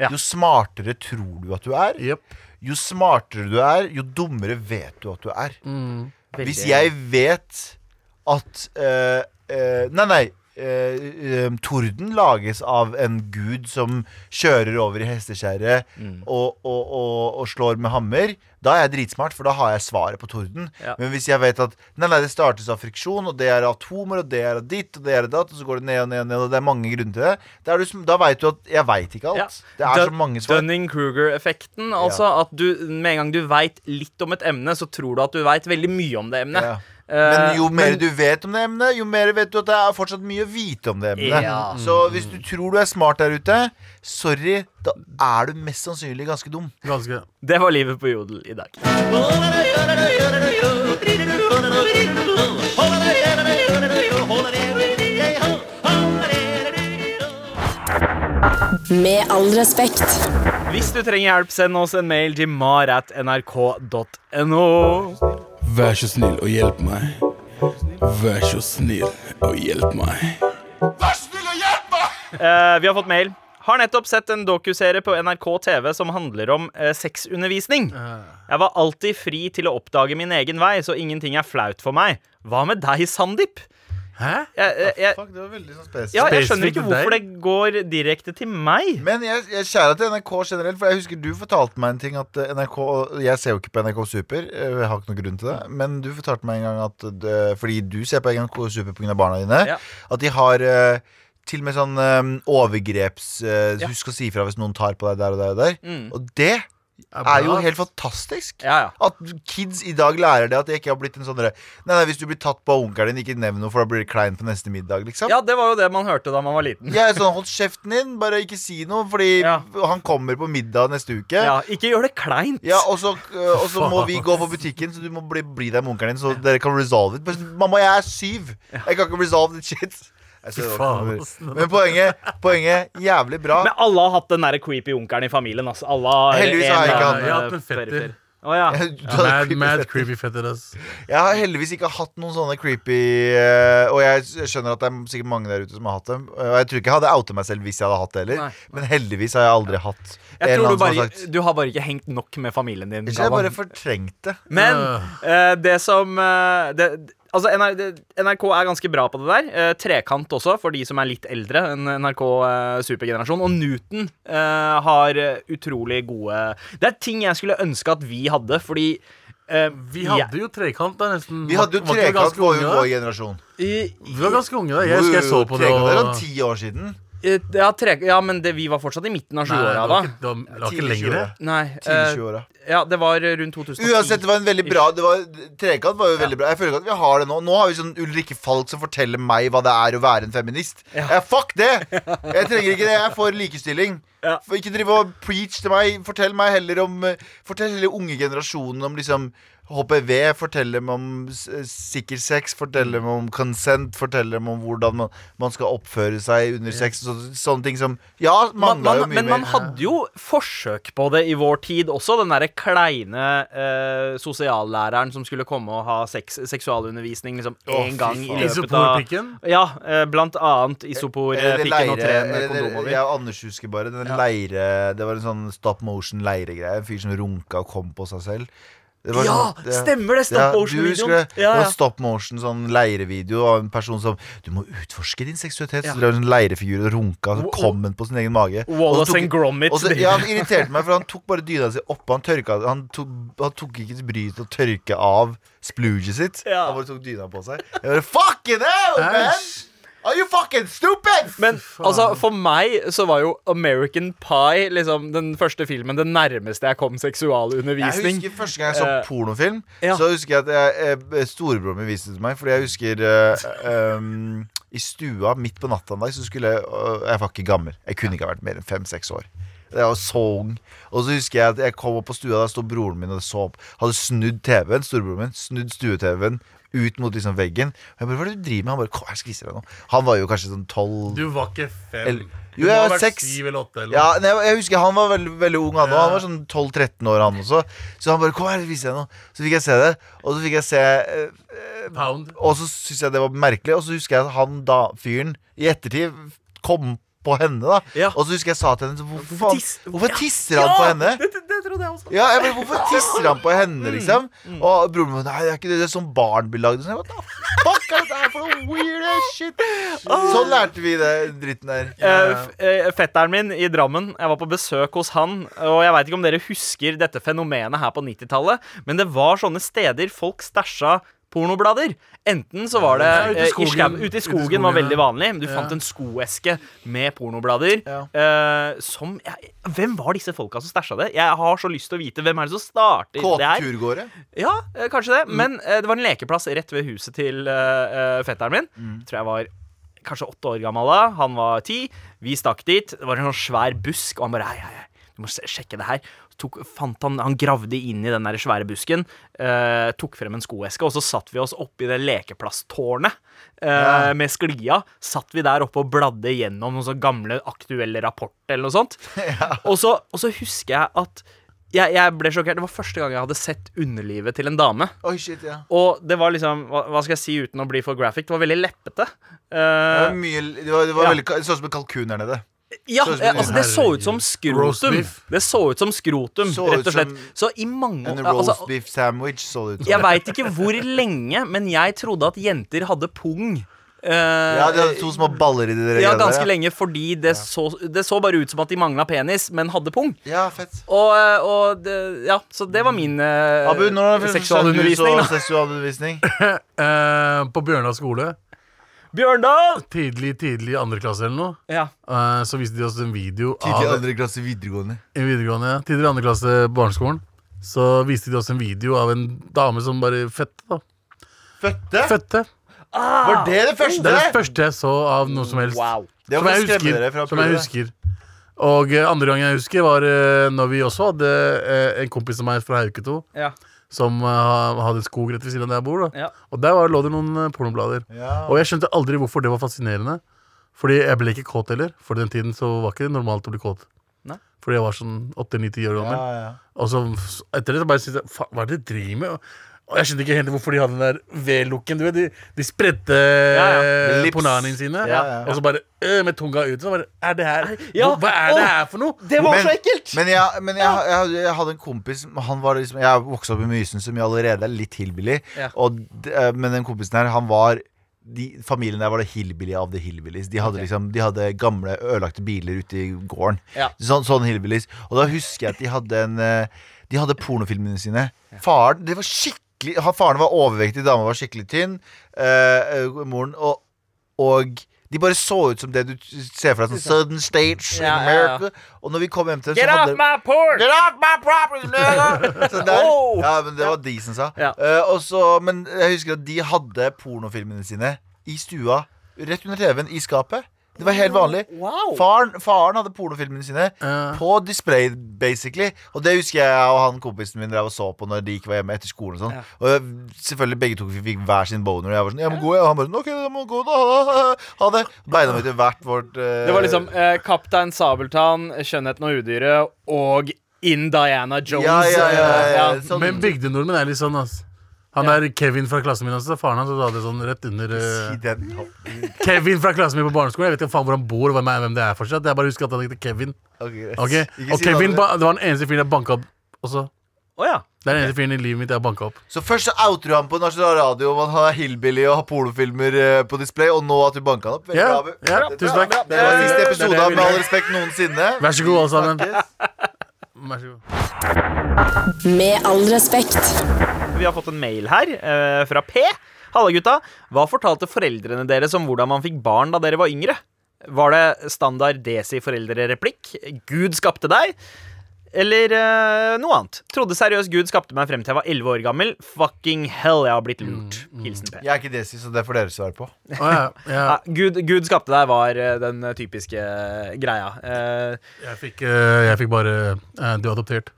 D: Ja.
C: jo smartere tror du at du er.
B: Jep.
C: Jo smartere du er, jo dummere vet du at du er.
D: veldig-
C: Hvis jeg vet at eh, eh, Nei, nei. eh, eh, torden lages av en gud som kjører over i hesteskjæret
D: Mm.
C: og, og, og, og slår med hammer. Da er jeg dritsmart, for da har jeg svaret på torden.
D: Ja.
C: Men hvis jeg vet at nei, nei, det startes av friksjon, og det er atomer, og det er av ditt, og det er av datt, og så går det ned og ned og ned, og det er mange grunner til det, da, er du, som- da veit du at jeg veit ikke alt.
D: Ja.
C: Det er
D: Dun-
C: så mange svar.
D: Dunning-Kruger-effekten. Altså at du, med en gang du veit litt om et emne, så tror du at du veit veldig mye om det emnet.
C: Ja.
D: Eh,
C: Men jo mer du vet om det emnet, jo mer vet du at det er fortsatt mye å vite om det emnet.
D: Ja.
C: Så hvis du tror du er smart der ute, sorry, da er du mest sannsynlig ganske dum.
B: Ganske.
D: Det var livet på Jodel i dag.
A: Med all respekt.
D: Hvis du trenger hjelp, send oss en mail til maratnrk.no.
E: Vær så snill og hjelp meg. Vær så snill og hjelp meg.
D: Eh, vi har fått mail. Har nettopp sett en dokuserie på NRK TV som handler om eh, sexundervisning. Jeg var alltid fri til å oppdage min egen vei, så ingenting er flaut for meg. Hva med deg, Sandeep?
B: Hæ?
D: Jeg, jeg, Eh, jeg,
C: Ah, Fuck, det var veldig sånn spesifikt.
D: ja, jeg skjønner
B: Spesifikt
D: ikke
B: til
D: hvorfor det
B: deg?
D: går direkte til meg.
C: Men jeg, jeg kjære til NRK generelt, for jeg husker du fortalte meg en ting at eh, NRK Jeg ser jo ikke på NRK Super, eh, jeg har ikke noen grunn til det, men du fortalte meg en gang at det, Fordi du ser på NRK Super pga. barna dine,
D: Ja.
C: at de har eh, til og med sånn eh, overgreps eh,
D: Ja. Mm.
C: Husk å si ifra hvis noen tar på deg der og der og der. Og det
B: bra.
C: er jo helt fantastisk.
D: Ja, ja.
C: At kids i dag lærer det at det ikke har blitt en sånn derre Nei, nei, hvis du blir tatt på av onkelen din, ikke nevn noe, for da blir det klein på neste middag, liksom.
D: ja, det var jo det man hørte da man var liten.
C: Jeg er sånn, Hold kjeften din, bare ikke si noe, fordi
D: Ja.
C: han kommer på middag neste uke.
D: Ja, ikke gjør det kleint.
C: Ja, og så, øh, og så må vi gå på butikken, så du må bli, bli der med onkelen din, så dere kan resolve it. Bare sånn, Mamma, jeg er syv! Jeg kan ikke resolve this shit. Jeg ser det var
B: Faen,
C: ikke
B: ass.
C: noe. Men poenget, poenget jævlig bra.
D: Men alle har hatt den der creepy onkelen i familien. Altså. Alle har
C: Heldigvis har jeg ikke
D: eller
C: hatt
D: annen
B: den. Jeg har hatt en fetter.
D: perifer. Å, ja.
B: Mad, mad
C: Jeg
B: creepy fetter, ass.
C: har heldigvis ikke hatt noen sånne creepy øh, Og jeg skjønner at det er sikkert mange der ute som har hatt dem. Og jeg tror ikke jeg hadde outa meg selv hvis jeg hadde hatt det
D: Nei.
C: heller. Men heldigvis har jeg aldri hatt en
D: Jeg
C: eller
D: tror du,
C: annen som
D: bare,
C: har sagt
D: du har bare ikke hengt nok med familien din.
C: Ikke jeg
D: Galvan.
C: bare fortrengte.
D: Men
B: Øh.
D: eh, det som eh, det, Altså, NR det- NRK er ganske bra på det der. Eh, trekant også, for de som er litt eldre enn NRK eh, supergenerasjon. Og Newton eh, har eh, utrolig gode Det er ting jeg skulle ønske at vi hadde, fordi eh,
B: Vi
D: jeg-
B: hadde jo trekant da, nesten.
C: Vi hadde jo
B: Var ikke vi
C: trekant
B: ganske
C: på
B: unge da?
C: vår generasjon.
B: Vi var ganske unge da. Jeg husker jeg så på det.
C: Trekant
B: og-
C: er om ti år siden.
D: eh, ja, tre, ja, men det, vi var fortsatt i midten av
B: Nei, det var
D: 20-åra da.
B: ikke, det var, det var ikke
C: Tidlig
B: lenger.
C: 20-åra.
D: Nei,
C: Tidlig
D: eh,
C: 20-åra.
D: ja, det var rundt 2010.
C: Uansett, det var en veldig bra det var, Trekant var jo veldig bra. Jeg føler ikke at vi har det nå. Nå har vi sånn Ulrikke Falk som forteller meg hva det er å være en feminist. Eh, fuck det! Jeg trenger ikke det. Jeg får likestilling.
D: Ja.
C: For ikke drive og preach til meg. Fortell meg heller om eh, Fortell heller unge generasjonen om liksom HPV. Fortell dem om s- eh, sikker sex. Fortell dem om consent. Fortell dem om hvordan man, man skal oppføre seg under sex. Så, sånne ting som Ja,
D: man,
C: mangla
D: man,
C: jo mye
D: men man
C: mer.
D: hadde jo forsøk på det i vår tid også. Den derre kleine eh, sosiallæreren som skulle komme og ha sex, seksualundervisning liksom én gang i løpet av
B: Isoporpikken?
D: Ja, eh, blant annet
C: Eller det
D: isoporpikken og tre eh, med
C: eller det-
D: kondom over.
C: Jeg og Anders husker bare den leire Det var en sånn stop motion leiregreie. En fyr som runka og kom på seg selv. Det var
F: Ja,
C: sånn- det-
F: stemmer det, stop motion-videoen.
C: du husker
F: Ja,
C: det? det
F: ja.
C: var stop motion, sånn leirevideo av en person som Du må utforske din seksualitet. Så drev en sånn leirefigur og runka, så kom han på sin egen mage. Og så
D: Wallace
C: tok-
D: and Gromit.
C: og så- ja, han irriterte meg, for han tok bare dyna si oppå. Han tørka Han tok, han tok ikke til bryet til å tørke av splooget sitt.
F: Ja.
C: Han bare tok dyna på seg. Jeg bare Fucking hell, man!
B: Æsj.
C: Are you fucking stupid?
D: Men altså, for meg så var jo American Pie liksom, den første filmen det nærmeste jeg kom seksualundervisning.
C: Jeg husker første gang jeg så
D: Eh,
C: pornofilm.
D: ja.
C: Så husker jeg at jeg, jeg, storebroren min viste det til meg. Fordi jeg husker eh, em, i stua midt på natta en dag, så skulle jeg og Jeg var ikke gammel. Jeg kunne ikke ha vært mer enn fem-seks år. Jeg var så ung. Og så husker jeg at jeg kom opp på stua, der sto broren min og så opp. Hadde snudd TV-en, storebroren min, snudd stue-TV-en. Ut mot liksom veggen. Og jeg bare, Hva er det du driver med? Han bare, kom, jeg skal vise deg noe. Han var jo kanskje sånn tolv
B: Du var ikke fem.
C: Eller-
B: Du må
C: Jo, jeg
B: ha
C: var
B: vært
C: seks.
B: Syv eller åtte. Eller.
C: Ja,
B: noe.
C: nei, jeg husker Han var veldig, veldig ung, han òg. Han var sånn 12-13 år, han også. Så han bare 'Kom her, viser jeg noe'. Så fikk jeg se det. Og så fikk jeg se eh,
B: Pound.
C: Og så syntes jeg det var merkelig. Og så husker jeg at han da, fyren, i ettertid kom på henne, da.
F: Ja.
C: Og så husker jeg sa til henne så, Hvorfor, faen,
F: tiss-
C: hvorfor tisser han på henne?
F: Det, det, det trodde jeg også.
C: Ja, jeg bare, Hvorfor tisser han på henne, liksom? Og broren min Nei, det er ikke det, det er sånn barn blir lagd. Så jeg bare, «Hva Fuck er dette her for noe weird ass shit? Sånn lærte vi det dritten der.
D: Eh, f- eh, fetteren min i Drammen, jeg var på besøk hos han. Og jeg veit ikke om dere husker dette fenomenet her på 90-tallet, men det var sånne steder folk stæsja pornoblader. Enten så var det
B: Ja, ute i
D: eh, i
B: skogen.
D: skau- Ute i skogen var
B: ja.
D: veldig vanlig. men Du fant en skoeske med pornoblader. eh, som jeg, Hvem var disse folka som stæsja det? Jeg har så lyst til å vite hvem er det som starter det her.
C: Kåturgårde.
D: Ja, eh, kanskje det. Men eh, det var en lekeplass rett ved huset til eh, eh, fetteren min. Tror jeg var kanskje åtte år gammel da. Han var ti. Vi stakk dit. Det var en sånn svær busk, og han bare hei, hei, hei. Du må se- sjekke det her. Så Tok, fant han, han gravde inn i den der svære busken, eh, tok frem en skoeske, og så satt vi oss oppi det lekeplasstårnet eh, med sklia. Satt vi der oppe og bladde gjennom noen sånne gamle aktuelle rapporter eller noe sånt. og, så, og så husker jeg at jeg, jeg ble sjokkert. Det var første gang jeg hadde sett underlivet til en dame.
C: Oi, shit, ja.
D: Og det var liksom, hva, hva skal jeg si uten å bli for graphic, det var veldig leppete.
C: Det
D: Eh,
C: var mye, det var, det var
D: Ja.
C: veldig, det så ut som en kalkun her nede.
D: ja,
C: så ut som
D: eh,
C: en-
D: altså Det så ut som
B: Roast
D: skrotum.
B: beef.
D: Det så ut som skrotum,
C: Så ut
D: rett og slett.
C: som
D: Så i mange
C: En
D: år
C: roast
D: altså,
C: beef sandwich så det ut som.
D: Jeg veit ikke hvor lenge, men jeg trodde at jenter hadde pung. eh,
C: ja, de hadde to små baller i det der.
D: ja,
C: greiene der,
D: ganske lenge, fordi det så, det så bare ut som at de mangla penis, men hadde pung.
C: Ja, fett.
D: Og, eh, og det, ja, så det var min eh,
C: Abu, når var det første gang du så seksualundervisning?
D: seksualundervisning, da.
B: Eh, på Bjørnar skole,
D: Bjørndal!
B: tidlig, tidlig i andre klasse eller noe,
D: Ja.
B: eh, så viste de oss en video
C: Tidlig
B: av
C: andre klasse videregående.
B: i videregående, ja. tidligere andre klasse barneskolen, så viste de oss en video av en dame som bare fette. da
C: Fødte?
B: Fødte.
C: Var det det første?
B: Det er det første jeg så av noe som helst.
D: Wow.
C: Det
B: Som
C: var
B: jeg
C: for å skremme dere
B: husker.
C: fra
B: Som jeg
C: pulet.
B: husker. Og eh, andre gang jeg husker, var eh, når vi også hadde eh, en kompis av meg fra Hauketo
D: Ja.
B: som eh, ha- hadde skog rett ved siden av der jeg bor. Da.
D: Ja.
B: Og der var, lå det noen eh, pornoblader.
C: Ja.
B: Og jeg skjønte aldri hvorfor det var fascinerende. Fordi jeg ble ikke kåt heller. For den tiden så var ikke det normalt å bli kåt.
D: Nei.
B: Fordi jeg var sånn 8-9-10 år gammel.
C: Ja, ja.
B: Og så f- etter det så bare syntes jeg Faen, hva er det de driver med? Og- Og jeg skjønte ikke helt hvorfor de hadde den der V-looken. du vet, De, de spredte
D: ja.
B: ja.
C: Lips.
B: pornaniene sine,
C: Ja, ja.
B: og så bare øh, med tunga ut. Så bare, er det her,
D: Ja.
B: Hva er det
D: Åh.
B: her for noe?
D: Det var
C: Men-
D: så ekkelt!
C: Men, jeg, men jeg, jeg, jeg hadde en kompis Han var liksom, Jeg vokste opp i Mysen, som jeg allerede er litt hillbilly.
D: Ja.
C: Og, d- eh, men den kompisen her, han var de, Familien der var det hillbilly av the hillbillies. De hadde, liksom, de hadde gamle, ødelagte biler ute i gården.
D: Ja.
C: Sånn, sånn hillbillies. Og da husker jeg at de hadde en eh, De hadde pornofilmene sine. Faren det var skikkelig han- Faren var overvektig, dama var skikkelig tynn. eh, eh, moren og, og de bare så ut som det du ser for deg. Sånn Southern States in
D: Ja, ja, ja.
C: America. Og når vi kom hjem til dem,
D: Get
C: så
D: off
C: hadde
D: my porch!
C: Get off my property, nigga! Sånn der.
D: Oh!
C: Ja, men det var de som sa.
D: Ja.
C: Eh, og så- men jeg husker at de hadde pornofilmene sine i stua, rett under TV-en, i skapet. Det var helt vanlig.
D: Wow.
C: Faren, faren hadde pornofilmene sine på display, basically. Og det husker jeg og han kompisen min drev og så på når de ikke var hjemme etter skolen. Og sånn Og jeg, selvfølgelig begge to fikk hver sin boner. Og jeg var sånn, jeg må gå, jeg. Og han bare sånn, OK, jeg må gå, da. Ha det. Ha det. Beina mine til hvert vårt eh,
D: Det var liksom eh, Kaptein Sabeltann, Skjønnheten og udyret og In Diana Jones.
C: ja, ja, ja, ja, ja.
D: eh,
C: Sånn,
B: Men bygdenordmenn er litt sånn, ass. Han der Kevin fra klassen min også, faren hans hadde det sånn rett under eh,
C: i den hatten.
B: Kevin fra klassen min på barneskolen. Jeg vet ikke faen hvor han bor, og hvem er- hvem det er fortsatt. Jeg bare husker at han heter Kevin.
C: Ok, greit.
B: Ok?
C: Ikke
B: Og
C: si noe
B: Kevin
C: om det.
B: ba, det var den eneste fyren jeg banka opp også.
D: Å ja.
B: Det er den eneste fyren i livet mitt jeg har banka opp.
C: Så først så outer du ham på nasjonal radio om at han er hillbilly og har pornofilmer eh, på display, og nå at du banka han opp. Veldig
B: Ja,
C: bra,
B: ja,
C: Abu. Det er
B: tusen
C: bra,
B: takk.
C: bra. Det var
B: Det er
C: siste
B: det
C: episode
B: jeg
C: av Med all
B: ville.
C: respekt noensinne.
B: Vær så god, alle sammen. Vær så god.
A: Med all respekt.
D: Vi har fått en mail her eh, fra P. Halla, gutta. Hva fortalte foreldrene deres om hvordan man fikk barn da dere var yngre? Var det standard Desi-foreldrereplikk? Gud skapte deg? Eller eh, noe annet. Trodde seriøst Gud skapte meg frem til jeg var 11 år gammel. Fucking hell, jeg har blitt lurt. Hilsen P.
C: Jeg er ikke desi, så det får dere svare på.
B: Å, ja, ja.
D: Ja, Gud, Gud skapte deg var eh, den typiske greia. Eh,
B: Jeg fikk, eh, jeg fikk bare eh, Du er adoptert.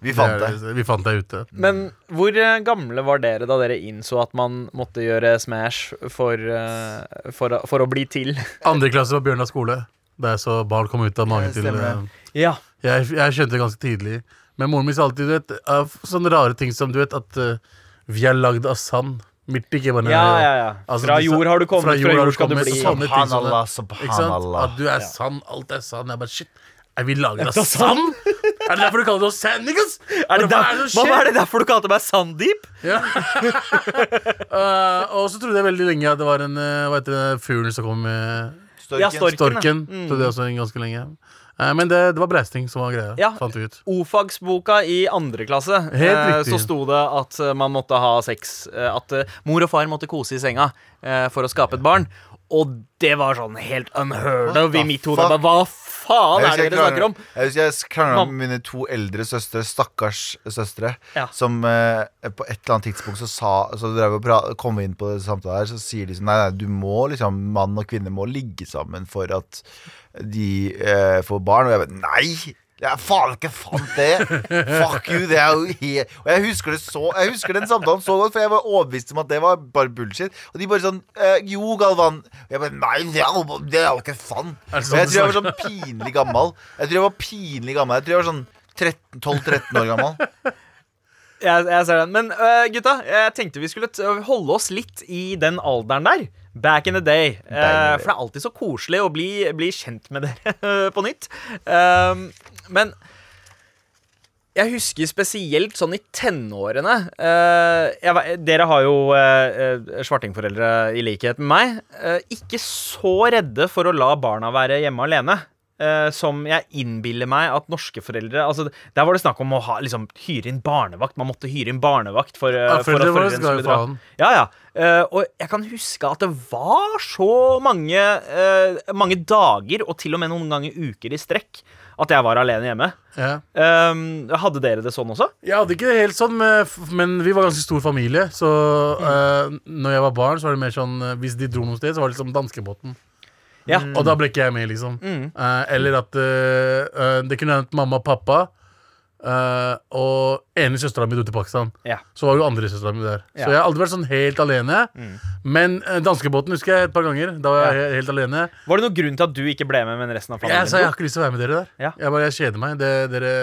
C: Vi fant
B: Det
C: det.
B: er- Vi fant deg ute.
D: men hvor eh, gamle var dere da dere innså at man måtte gjøre Smash for, eh, for, å- for å bli til?
B: Andre klasse på Bjørnar skole. Der jeg så barn komme ut av magen til
C: stemmer det.
B: eh,
D: Ja.
B: Jeg, jeg skjønte det ganske tidlig. Men moren min sa alltid du vet, av sånne rare ting som du vet at eh, vi er lagd av sand. Midt ikke bare
D: Ja, ja, ja.
B: Altså,
D: fra
B: disse-
D: jord har du kommet, fra jord,
B: har du
D: skal du
B: kommet, sånn.
D: bli.
B: så Sånne ting som det.
C: Subhanallah,
B: Ikke sant?
C: subhanallah.
B: At du er sann, alt er sann. Jeg bare shit. Er vi laget av sand? Er det derfor du kaller det oss sand, niggas?
D: Er det
B: Hva
D: der,
B: er det som
D: Mamma,
B: skjer?
D: er det derfor du kalte meg Sandeep?
B: Ja. Eh, og så trodde jeg veldig lenge at det var en eh, Hva heter det, fuglen som kom med
C: Storken.
D: Ja, Mm. stork.
B: storken.
D: Storken,
B: Trodde jeg også en ganske lenge. Eh, men det, det var breisting som var greia.
D: Ja.
B: Fant vi ut.
D: Ofagsboka i andre klasse,
B: Helt
D: eh,
B: riktig.
D: så sto det at eh, man måtte ha sex. eh, At eh, mor og far måtte kose i senga eh, for å skape et barn. Og det var sånn helt unheard
C: What
D: of i
C: the
D: mitt hode.
C: fuck?
D: Jeg bare, Hva faen er det
C: Jeg
D: dere snakker om?
C: husker jeg krangla
D: Mam-
C: med mine to eldre søstre, stakkars søstre,
D: Ja.
C: som eh, på et eller annet tidspunkt så sa Så drev vi og pra- kom vi inn på det samtalen her, så sier de sånn Nei, nei, du må liksom Mann og kvinne må ligge sammen for at de eh, får barn. Og jeg bare Nei! Jeg faen ikke fant det! Fuck you! Det er jo he Og jeg husker, det så, jeg husker den samtalen så godt, for jeg var overbevist om at det var bare bullshit. Og de bare sånn eh, Jo, Galvan. Og jeg bare Nei, det er jo, det er jo ikke sant!
B: Er det
C: Og
B: sånn
C: jeg
B: du
C: tror jeg var
B: snakker?
C: sånn pinlig gammel. Jeg tror jeg var pinlig gammel. Jeg tror jeg var sånn 13 12-13 år gammel.
D: Jeg, jeg ser den. Men øh, gutta, jeg tenkte vi skulle t holde oss litt i den alderen der. Back in the day. Eh,
C: Deilig.
D: for det er alltid så koselig å bli, bli kjent med dere på nytt. Ehm, men jeg husker spesielt sånn i tenårene eh, jeg, ve- Dere har jo eh, eh, svartingforeldre i likhet med meg. eh, ikke så redde for å la barna være hjemme alene. eh, som jeg innbiller meg at norske foreldre altså, Der var det snakk om å ha, liksom, hyre inn barnevakt. Man måtte hyre inn barnevakt for, eh,
B: Ja,
D: for at
B: foreldre våre
D: foreldrene
B: ga jo
D: skulle dra.
B: faen.
D: Ja, ja. Eh, og jeg kan huske at det var så mange, eh, mange dager, og til og med noen ganger uker i strekk, at jeg var alene hjemme.
B: Ja.
D: Ehm, hadde dere det sånn også?
B: Jeg hadde ikke det helt sånn, men f- men vi var ganske stor familie. Så eh, når jeg var barn, så var det mer sånn eh, Hvis de dro noe sted, så var det liksom danskebåten.
D: Ja.
B: Og da ble ikke jeg med, liksom.
D: Mm.
B: Eh, eller at eh, eh, det kunne hendt mamma og pappa eh, og ene søstera mi dro til Pakistan.
D: Ja.
B: Så var jo andre søstera mi der. Så jeg har aldri vært sånn helt alene.
D: Mm.
B: Men eh, danskebåten husker jeg et par ganger. Da var jeg he- helt alene.
D: Var det noen grunn til at du ikke ble med, men resten av familien?
B: Jeg sa jeg
D: dro?
B: har ikke lyst til å være med dere der.
D: Ja.
B: Jeg bare jeg kjeder meg. Det, dere,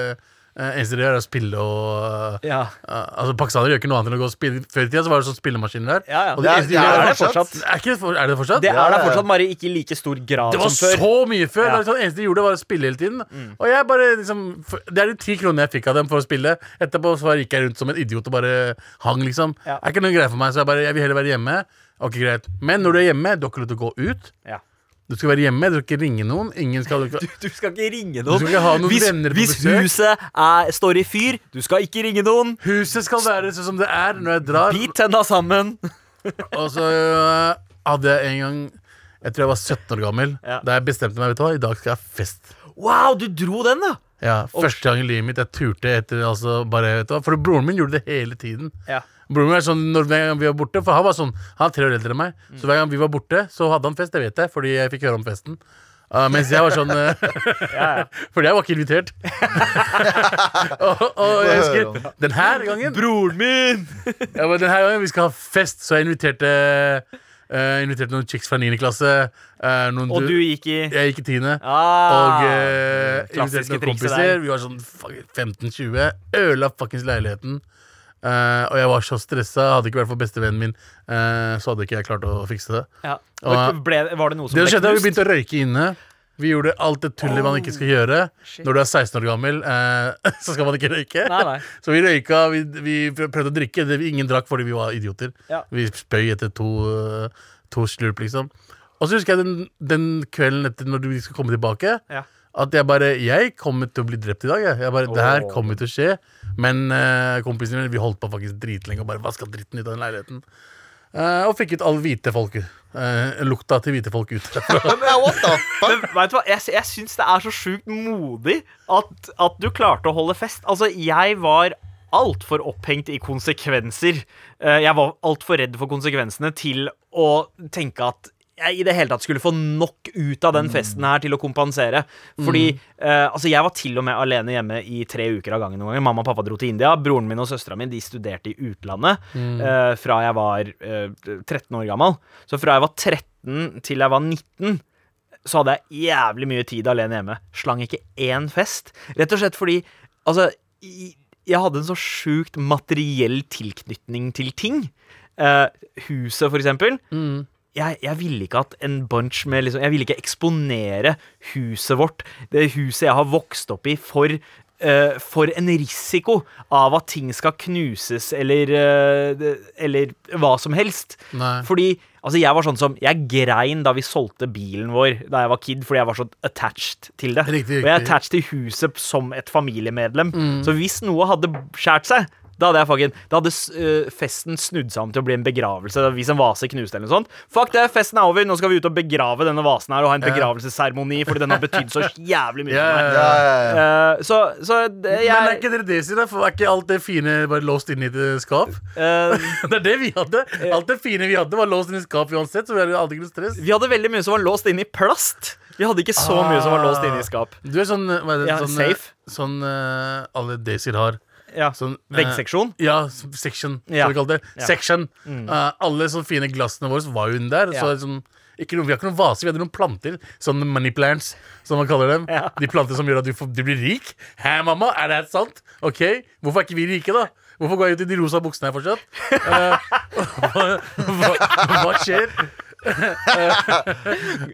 B: eh, eneste dere gjør, er å spille og
D: Ja.
B: Uh, altså Pakistanere gjør ikke noe annet enn å gå og spille. Før i tida så var det sånn spillemaskiner der.
D: Ja, ja.
B: Og
C: Det er-
B: eneste de
C: det
B: gjør
C: er
B: er
C: det fortsatt.
B: fortsatt- Er, ikke, det for- er det fortsatt?
D: Det er der
C: ja, ja.
D: fortsatt, bare ikke i like stor grad
B: Det var
D: som før.
B: så mye før!
D: Ja. Mm.
B: Det, er sånn, eneste de gjorde, var å spille hele tiden. Og jeg bare liksom for, Det er de ti kronene jeg fikk av dem for å spille. Etterpå så gikk jeg rundt som en idiot og bare hang, liksom.
D: Ja.
B: Er ikke noe greie for meg, så jeg bare Jeg vil heller være hjemme. Ok, greit. Men når du er hjemme, du har ikke lov til å gå ut.
D: Ja.
B: Du skal være hjemme, du skal ikke ringe noen. Ingen skal du,
D: Du skal ikke ringe
B: du skal ikke ha noen
D: Hvis,
B: venner på
D: hvis
B: besøk.
D: huset er, står i fyr, du skal ikke ringe noen.
B: Huset skal være sånn som det er når jeg drar.
D: Bit tenna sammen.
B: Og så øh, hadde jeg en gang Jeg tror jeg var 17 år gammel
D: Ja.
B: da jeg bestemte meg vet du hva, i dag skal jeg ha fest.
D: Wow, du dro den, da!
B: Ja, Første gang i livet mitt jeg turte etter altså bare, vet du hva, For broren min gjorde det hele tiden.
D: Ja.
B: Broren min er sånn, når, Hver gang vi var borte For han var sånn, han er tre år eldre enn meg, så hver gang vi var borte, så hadde han fest. Det vet jeg, fordi jeg fikk høre om festen. Ah, mens jeg var sånn øh, Fordi jeg var ikke invitert. og, og jeg
C: om
B: husker den her gangen
D: Broren min!
B: ja, men denne gangen vi skal ha fest, så jeg inviterte, eh, inviterte noen chicks fra 9. klasse. eh, noen
D: Og
B: du-
D: du gikk i
B: Jeg gikk i 10.
D: ah, mm,
B: og eh, inviterte
D: klassiske
B: noen
D: trikset
B: kompiser.
D: der.
B: Vi var sånn fuck, 15-20. Ødela fuckings leiligheten. Eh, og jeg var så stressa. Hadde det ikke vært for bestevennen min, eh, så hadde ikke jeg klart å fikse det.
D: ja. og ble, Var det noe som
B: Det som skjedde, var
D: ble
B: Vi
D: knust?
B: begynte å røyke inne. Vi gjorde alt det tullet man ikke skal gjøre
G: shit.
B: når du er 16 år gammel. Eh, så skal man ikke røyke.
G: Nei, nei.
B: Så vi røyka, vi, vi prøvde å drikke. Det, ingen drakk fordi vi var idioter.
G: Ja.
B: Vi spøy etter to, eh, to slurp, liksom. Og så husker jeg den, den kvelden etter når vi skulle komme tilbake,
D: Ja.
B: at jeg bare Jeg kommer til å bli drept i dag. Jeg, jeg bare, Det her
G: Åh.
B: kommer til å skje. Men eh, kompisene mine, vi holdt på faktisk dritlenge og bare vaska dritten ut av den leiligheten. Eh, og fikk ut all hvite folk. eh, lukta til hvite folk ut.
C: Men what the
D: Men
C: fuck?
D: vet du hva, jeg, jeg syns det er så sjukt modig at, at du klarte å holde fest. Altså, jeg var altfor opphengt i konsekvenser. Eh, Jeg var altfor redd for konsekvensene til å tenke at jeg i det hele tatt skulle få nok ut av
C: Mm.
D: den festen her til å kompensere. Fordi eh, altså jeg var til og med alene hjemme i tre uker av gangen. noen ganger Mamma og pappa dro til India. Broren min og søstera mi de studerte i utlandet
C: Mm.
D: eh, fra jeg var eh, 13 år gammel. Så fra jeg var 13 til jeg var 19 så hadde jeg jævlig mye tid alene hjemme. Slang ikke én fest. Rett og slett fordi Altså, i- jeg hadde en så sjukt materiell tilknytning til ting. Eh, huset, for eksempel. Jeg, jeg ville ikke at en bunch med liksom, Jeg ville ikke eksponere huset vårt, det huset jeg har vokst opp i, for eh, for en risiko av at ting skal knuses eller eh, det- Eller hva som helst.
B: Nei.
D: Fordi altså jeg var sånn som Jeg grein da vi solgte bilen vår da jeg var kid, fordi jeg var så attached til det.
B: Riktig,
D: Og jeg er
B: riktig.
D: attached til huset som et familiemedlem.
B: Mm.
D: Så hvis noe hadde skjært seg da hadde, jeg fucking, da hadde s- øh, festen snudd seg om til å bli en begravelse. Hvis en vase knuste eller noe sånt Fuck det, festen er over, nå skal vi ut og begrave denne vasen her og ha en begravelsesseremoni, fordi den har betydd så jævlig mye
B: Ja,
D: for meg.
B: ja, ja.
C: Ja, ja, ja.
D: Eh, så så det, jeg
B: Men er ikke dere det sine? For er ikke alt det fine bare låst inn i et eh, skap?
D: eh,
B: Det er det vi hadde. Alt det fine vi hadde, var låst inn i et skap uansett. Så vi hadde aldri noe stress.
D: Vi hadde veldig mye som var låst inn i plast. Vi hadde ikke så mye som var låst inn i skap.
B: Du er sånn eh, hva er det,
D: Ja,
B: sånn, eh,
D: safe.
B: sånn eh, alle Desir har.
D: Ja,
B: Sånn, eh,
D: Veggseksjon.
B: Ja, s- section, som
D: Ja.
B: vi kaller det.
D: Ja. Mm.
B: Section. Eh, alle sånne fine glassene våre var jo inne der.
D: Ja.
B: Så liksom, ikke noe, vi har ikke noen vaser, vi hadde noen planter. Sånne money plants, som man kaller dem.
D: Ja.
B: De planter som gjør at du, får, du blir rik. Hæ, mamma? Er det helt sant? Ok, Hvorfor er ikke vi rike, da? Hvorfor går jeg ut i de rosa buksene her fortsatt? Eh, hva, hva, hva skjer? Eh.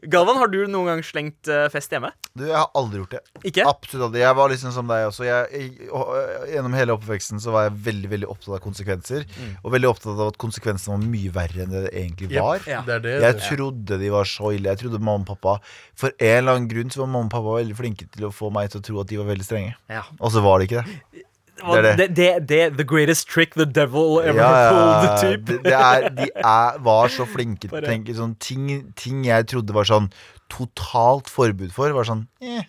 D: Galvan, har du noen gang slengt eh, fest hjemme?
C: Du, jeg har aldri gjort det.
D: Ikke?
C: Absolutt aldri. Jeg var liksom som deg også. Jeg, jeg, og- gjennom hele oppveksten så var jeg veldig veldig opptatt av konsekvenser. Og veldig opptatt av at konsekvensene var mye verre enn det det egentlig var.
B: Mm. Jep, Det er det.
C: Jeg trodde de var så ille. Jeg trodde mamma og pappa For en eller annen grunn så var mamma og pappa veldig flinke til å få meg til å tro at de var veldig strenge.
D: Ja.
C: Og så var de ikke det.
D: Det,
C: Det er
D: det. det, The greatest trick the devil ever pulled
C: Det,
D: typ.
C: det er, de er, var så flinke til å tenke sånn ting, ting jeg trodde var sånn totalt forbud for, var sånn eh.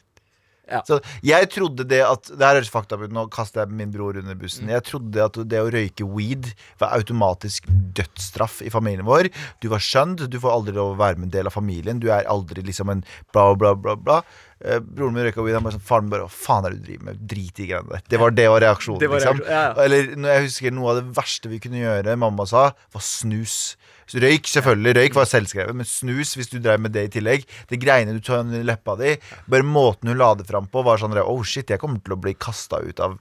D: Ja.
C: Så jeg trodde det at Det her høres fakta ut, nå kaster jeg min bror under
D: Mm.
C: bussen. Jeg trodde at det å røyke weed var automatisk dødsstraff i familien vår. Du var skjønt, du får aldri lov å være med en del av familien. Du er aldri liksom en bla, bla, bla, bla. Eh, broren min røyka weed, han bare sånn Faren min bare Hva faen er det du driver med? Drit i greiene der. Det var, det var reaksjonen,
D: Det var
C: liksom.
D: reaksjon- ja, ja.
C: Eller når jeg husker noe av det verste vi kunne gjøre, mamma sa, var snus. Røyk, selvfølgelig. Røyk var selvskrevet, men snus, hvis du drev med det i tillegg Det greiene du tar under leppa di, bare måten hun la det fram på, var sånn Oh shit, jeg kommer til å bli kasta ut av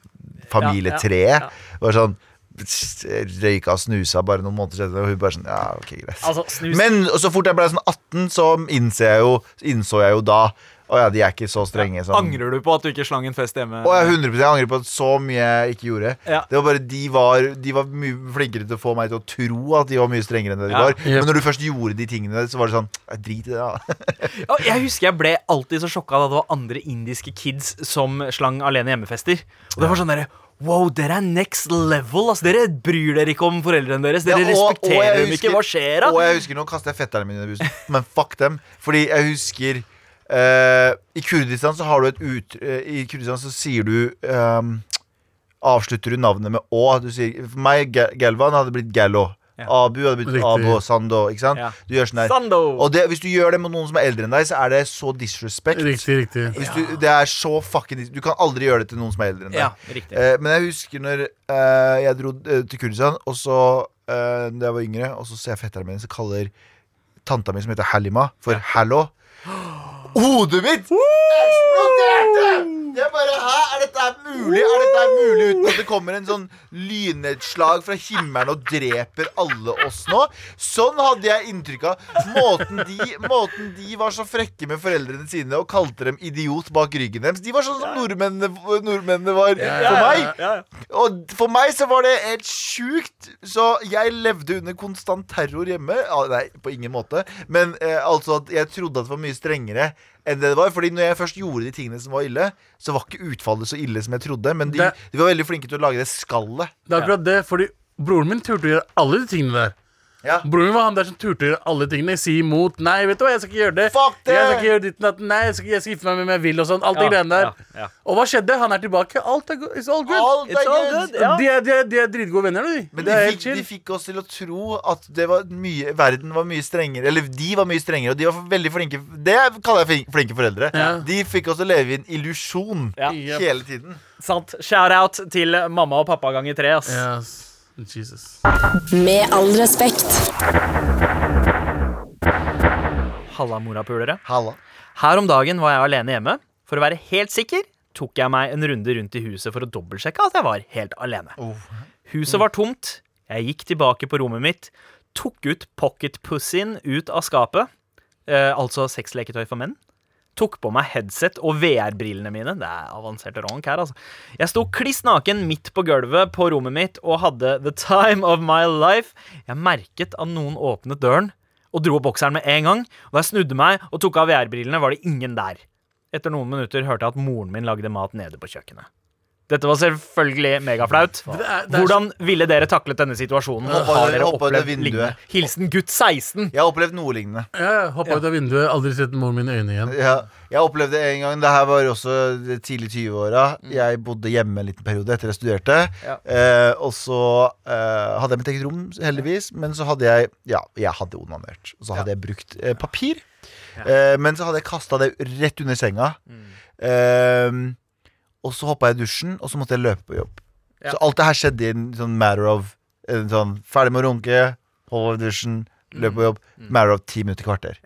C: familietreet. Var sånn pst, Røyka og snusa bare noen måneder senere, og hun bare sånn Ja, ok, greit.
D: Altså, snus
C: Men og så fort jeg ble sånn 18, så innså jeg jo, innså jeg jo da Å ja, de er ikke så strenge. som-
D: Angrer du på at du ikke slang en fest hjemme?
C: og jeg 100 angrer på at så mye jeg ikke gjorde.
D: Eh. Ja.
C: Det var bare De var, de var mye flinkere til å få meg til å tro at de var mye strengere enn det de
D: Ja.
C: var.
B: Yep.
C: Men når du først gjorde de tingene, så var det sånn «Ja, Drit i det, da.
D: Ja, Jeg husker jeg ble alltid så sjokka da det var andre indiske kids som slang alene hjemmefester. Og det var sånn derre Wow, dere er next level! ass Dere bryr dere ikke om foreldrene deres. Dere
C: Ja, og- og jeg
D: respekterer dem
C: husker-
D: ikke. Hva skjer, da?
C: Og jeg husker nå kaster jeg fetterne mine under bussen, men fuck dem. Fordi jeg husker eh, I Kurdistan så har du et ut... eh, I Kurdistan så sier du ehm, Avslutter du navnet med Å. Du sier, for meg, Ga- Galvan, hadde blitt Gallo. Abu hadde blitt
B: Riktig.
C: Abo Sando. Ikke sant?
D: Ja.
C: Du gjør sånn der.
D: Sando!
C: Og det, hvis du gjør det med noen som er eldre enn deg, så er det så disrespect.
B: Riktig, riktig.
C: Hvis du, det er så fucking dis- Du kan aldri gjøre det til noen som er eldre enn deg.
D: Ja, riktig.
C: Eh, men jeg husker når eh, jeg dro eh, til Kurdistan, og så eh, da jeg var yngre, og så ser jeg fetteren min som kaller tanta mi, som heter Halima, for Hallo. Hodet mitt eksploderte! Det er bare, hæ, er dette her mulig? Er dette her mulig uten at det kommer en sånn lynnedslag fra himmelen og dreper alle oss nå? Sånn hadde jeg inntrykk av. Måten de, måten de var så frekke med foreldrene sine og kalte dem idiot bak ryggen deres. De var sånn som nordmennene, nordmennene var for meg. Og for meg så var det helt sjukt. Så jeg levde under konstant terror hjemme. Ah, Nei, på ingen måte. Men eh, altså at jeg trodde at det var mye strengere enn det det var. Fordi når jeg først gjorde de tingene som var ille, så var ikke utfallet så ille som jeg trodde. Men de,
B: Det-
C: de var veldig flinke til å lage det skallet.
B: Det er akkurat det, fordi broren min turte å gjøre alle de tingene der.
C: Ja.
B: Broren min var han der som turte å gjøre alle tingene. Si imot. Nei, vet du hva, jeg skal ikke gjøre det.
C: Fuck det!
B: Jeg skal ikke gjøre ditt og datt. Nei, jeg skal, jeg skal gifte meg med hvem jeg vil, og sånn. Alt de greiene der.
D: ja, ja.
B: Og hva skjedde? Han er tilbake. Alt er go it's all good.
C: Alt er
B: It's all
C: good,
B: good.
D: ja.
B: De, er, de, er, de er dritgode venner, de.
C: Men
B: det
C: de
B: er helt
C: fikk, de
B: chill.
C: fikk oss til å tro at det var mye, verden var mye strengere. Eller de var mye strengere, og de var veldig flinke. Det kaller jeg flin- flinke foreldre.
B: Ja.
C: De fikk oss til å leve i en illusjon
D: Ja.
B: Yep.
C: hele tiden.
D: Sant. Shout-out til mamma og pappa ganger tre, ass.
B: Yes. Jesus.
A: Med all respekt.
D: Halla, morapulere.
C: Halla.
D: Her om dagen var jeg alene hjemme. For å være helt sikker tok jeg meg en runde rundt i huset for å dobbeltsjekke at jeg var helt alene. Huset var tomt. Jeg gikk tilbake på rommet mitt, tok ut pocketpussyen ut av skapet, eh, altså sexleketøy for menn. Tok på meg headset og VR-brillene mine. Det er avansert ronk her, altså. Jeg sto kliss naken midt på gulvet på rommet mitt og hadde the time of my life. Jeg merket at noen åpnet døren og dro opp bokseren med en gang. Og da jeg snudde meg og tok av VR-brillene, var det ingen der. Etter noen minutter hørte jeg at moren min lagde mat nede på kjøkkenet. Dette var selvfølgelig megaflaut.
B: Det er- det er
D: Hvordan ville dere taklet denne situasjonen? Og
C: Hoppa
D: har
C: ut-
D: dere
C: hoppa ut av
D: opplevd
C: vinduet.
D: lignende? Hilsen gutt 16.
C: Jeg har opplevd noe lignende.
B: Ja, Hoppa ut av vinduet, aldri sett moren min i øynene igjen.
C: Ja, jeg opplevde en gang Det her var også de tidlig 20-åra. Jeg bodde hjemme en liten periode etter jeg studerte. Eh, og så eh, hadde jeg mitt eget rom, heldigvis. Men så hadde jeg Ja, jeg hadde onanert. Og så hadde jeg brukt eh, papir. Eh, men så hadde jeg kasta det rett under senga. Eh, og så hoppa jeg i dusjen, og så måtte jeg løpe på jobb. Så alt det her skjedde i en sånn matter of en sånn, Ferdig med å runke, hoppe i dusjen, løpe på jobb. Matter of ti minutter, kvarter.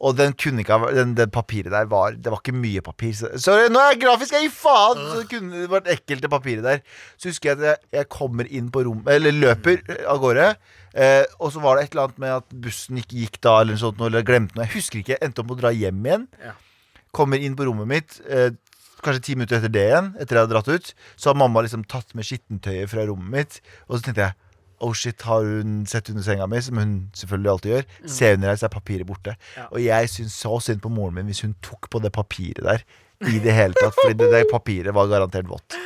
C: Og den kunne ikke ha den, den papiret der var Det var ikke mye papir. Så, sorry, nå er jeg grafisk! Jeg gir faen! Så det kunne det vært ekkelt, det papiret der. Så husker jeg at jeg, jeg kommer inn på rommet Eller løper av gårde. Eh, og så var det et eller annet med at bussen ikke gikk da, eller noe sånt, eller jeg glemte noe. Jeg husker ikke. Endte opp med å dra hjem igjen. Kommer inn på rommet mitt. Eh, Kanskje ti minutter etter det igjen, etter jeg hadde dratt ut, så har mamma liksom tatt med skittentøyet fra rommet mitt. Og så tenkte jeg Oh shit, har hun sett under senga mi, som hun selvfølgelig alltid gjør? Se under her, så er papiret borte. Og jeg syns så synd på moren min hvis hun tok på det papiret der i det hele tatt. Fordi det der papiret var garantert vått.